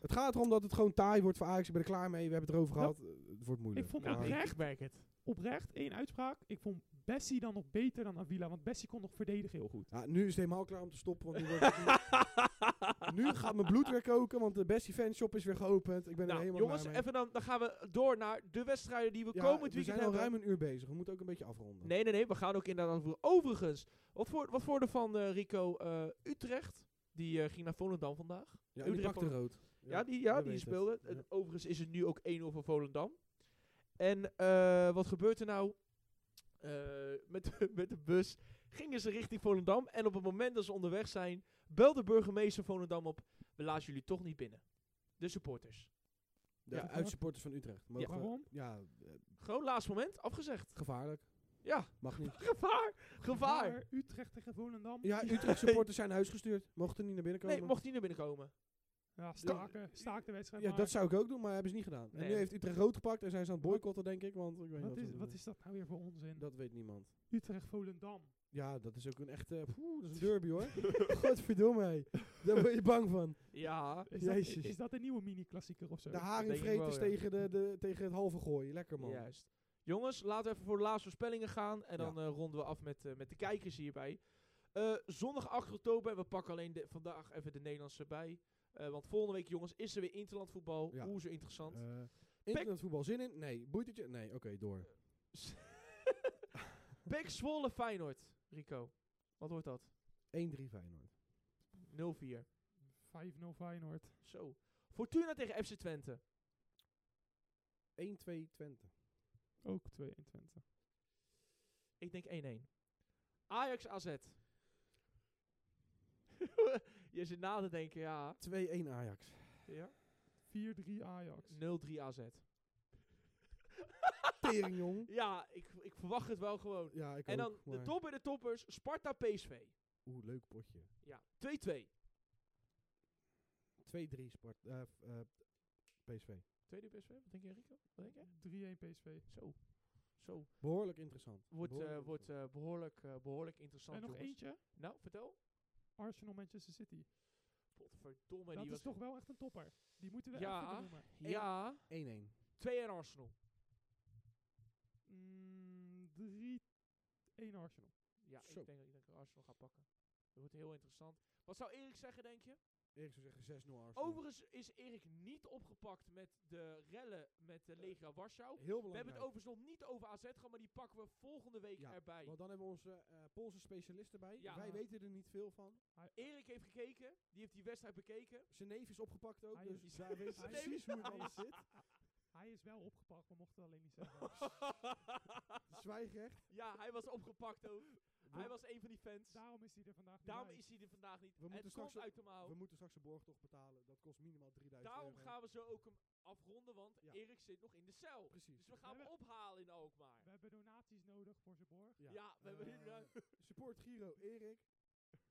Het gaat erom dat het gewoon taai wordt voor Ajax. Ik ben er klaar mee. We hebben het erover Ja. gehad. Het wordt moeilijk. ik vond Ja, oprecht, ik merk het. oprecht één uitspraak. Ik vond Bessie dan nog beter dan Avila, want Bessie kon nog verdedigen heel goed. Ja, nu is het helemaal klaar om te stoppen. Want nu, wordt het nu, nu gaat mijn bloed weer koken, want de Bestie Fanshop is weer geopend. Ik ben er Nou, helemaal jongens, klaar mee. even dan, dan gaan we door naar de wedstrijden die we Ja, komend we weekend zijn al hebben. ruim een uur bezig. We moeten ook een beetje afronden. Nee, nee, nee. We gaan ook inderdaad aanvoeren. Overigens, wat voor, wat voor de van eh, Rico eh, Utrecht? Die eh, ging naar Volendam vandaag. ja, die Utrecht pakte rood. Ja, die, ja, we die weten speelde. het. En Ja. Overigens is het nu ook 1-0 voor Volendam. En eh, wat gebeurt er nou? Eh, met, met de bus gingen ze richting Volendam. En op het moment dat ze onderweg zijn, belde de burgemeester Volendam op. We laten jullie toch niet binnen. De supporters. De Ja. uitsupporters van Utrecht. Mogen- Waarom? Ja, eh, Gewoon laatste moment, afgezegd. gevaarlijk. Ja, Mag niet. gevaar, gevaar. Maar Utrecht tegen Volendam. Ja, Utrecht supporters zijn naar huis gestuurd. Mochten niet naar binnen komen. Nee, mocht hij naar binnen komen. Ja, staken, staak de wedstrijd. ja, maar. dat zou ik ook doen, maar hebben ze niet gedaan. En Nee. nu heeft Utrecht rood gepakt en zijn ze aan het boycotten, denk ik. Want ik weet niet wat, wat is, ze wat doen. is dat nou weer voor onzin? Dat weet niemand. Utrecht Volendam. Ja, dat is ook een echte... eh, Poeh, dat is een derby hoor. Godverdomme, hé. Daar ben je bang van. Ja. Is dat, Jezus. is dat een nieuwe mini-klassieker of zo? De denk ik wel, haringvreters ja. tegen, de, de, tegen het halve gooien. Lekker man. Eh, Juist. Jongens, laten we even voor de laatste voorspellingen gaan. En dan eh, ronden we af met, eh, met de kijkers hierbij. Eh, zondag 8 oktober. En we pakken alleen de, vandaag even de Nederlandse bij. Eh, want volgende week, jongens, is er weer Interland voetbal. Ja. Hoe zo interessant. Eh, internetvoetbal zin in? Nee. Boeit het je? Nee. Oké, door. Pek Zwolle Feyenoord. Rico, wat wordt dat? 1-3 Feyenoord. 0-4. 5-0 Feyenoord. Zo. Fortuna tegen FC Twente. 1-2 Twente. Ook 22. Ik denk 1-1. Ajax AZ. Je zit na te denken, ja. 2-1 Ajax. ja. 4-3 Ajax. 0-3 AZ. Tering jong. Ja, ik, ik verwacht het wel gewoon. Ja, ik En ook, dan de maar- top bij de toppers, Sparta PSV. Oeh, leuk potje. Ja, 2-2. 2-3 Sport. eh, f- eh, PSV. 2-3 PSV, wat denk je Rico? Wat denk je? 3-1 PSV. Zo. Zo. Behoorlijk interessant. Wordt, eh, Behoorlijk wordt interessant. eh, behoorlijk, eh, behoorlijk interessant, En nog jongens. eentje. Nou, vertel. Arsenal Manchester City. Potverdomme, dat die is was... toch wel echt een topper. Die moeten we Ja. even noemen. Ja, 1-1. 2 en Arsenal. Mm, 3-1 Arsenal. Ja, Zo. ik denk, ik denk dat Arsenal gaat pakken. Dat wordt heel interessant. Wat zou Erik zeggen, denk je? Erik zou zeggen 6-0 Arsenal. Overigens is Erik niet opgepakt met de rellen met de Legia Warschau. Eh, Heel belangrijk. We hebben het overigens nog niet over AZ gehad, maar die pakken we volgende week Ja, erbij. Want dan hebben we onze eh, Poolse specialist erbij. Ja. Wij weten er niet veel van. Erik heeft gekeken, die heeft die wedstrijd bekeken. Zijn neef is opgepakt ook, Hij dus is- wij weten Zijn precies hoe neef- het allemaal zit. Hij is wel opgepakt, we mochten het alleen niet zeggen. Zwijgrecht. ja, hij was opgepakt ook. Hij was een van die fans. Daarom is hij er vandaag niet Daarom bij. is hij er vandaag niet. We moeten het straks komt ook- uit de mouw. We moeten straks een borgtocht betalen. Dat kost minimaal 3000 Oh. Daarom euro. gaan we zo ook hem afronden, want Ja. Erik zit nog in de cel. Precies. Dus we gaan We hem ophalen in Alkmaar. We hebben donaties nodig voor zijn borg. Ja, we hebben Eh, inderdaad- Support Giro, Erik.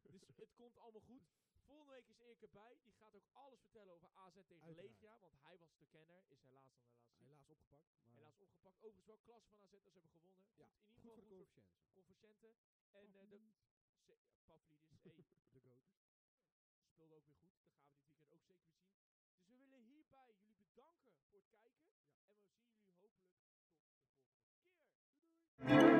Dus het komt allemaal goed. Volgende week is Erik erbij. Die gaat ook alles vertellen over AZ tegen Uiteraard. Legia. Want hij was de kenner. Is helaas dan helaas ziek. Helaas opgepakt. Maar Helaas opgepakt. Overigens wel klasse van AZ als ze hebben gewonnen. Goed, Ja, in ieder goed geval voor de goed voor coëfficiënt. coëfficiënten. En eh, de Se- Pavlidis hey, De goat. speelde ook weer goed. Dat gaan we dit weekend ook zeker weer zien. Dus we willen hierbij jullie bedanken voor het kijken. En we zien jullie hopelijk tot de volgende keer. Doei doei!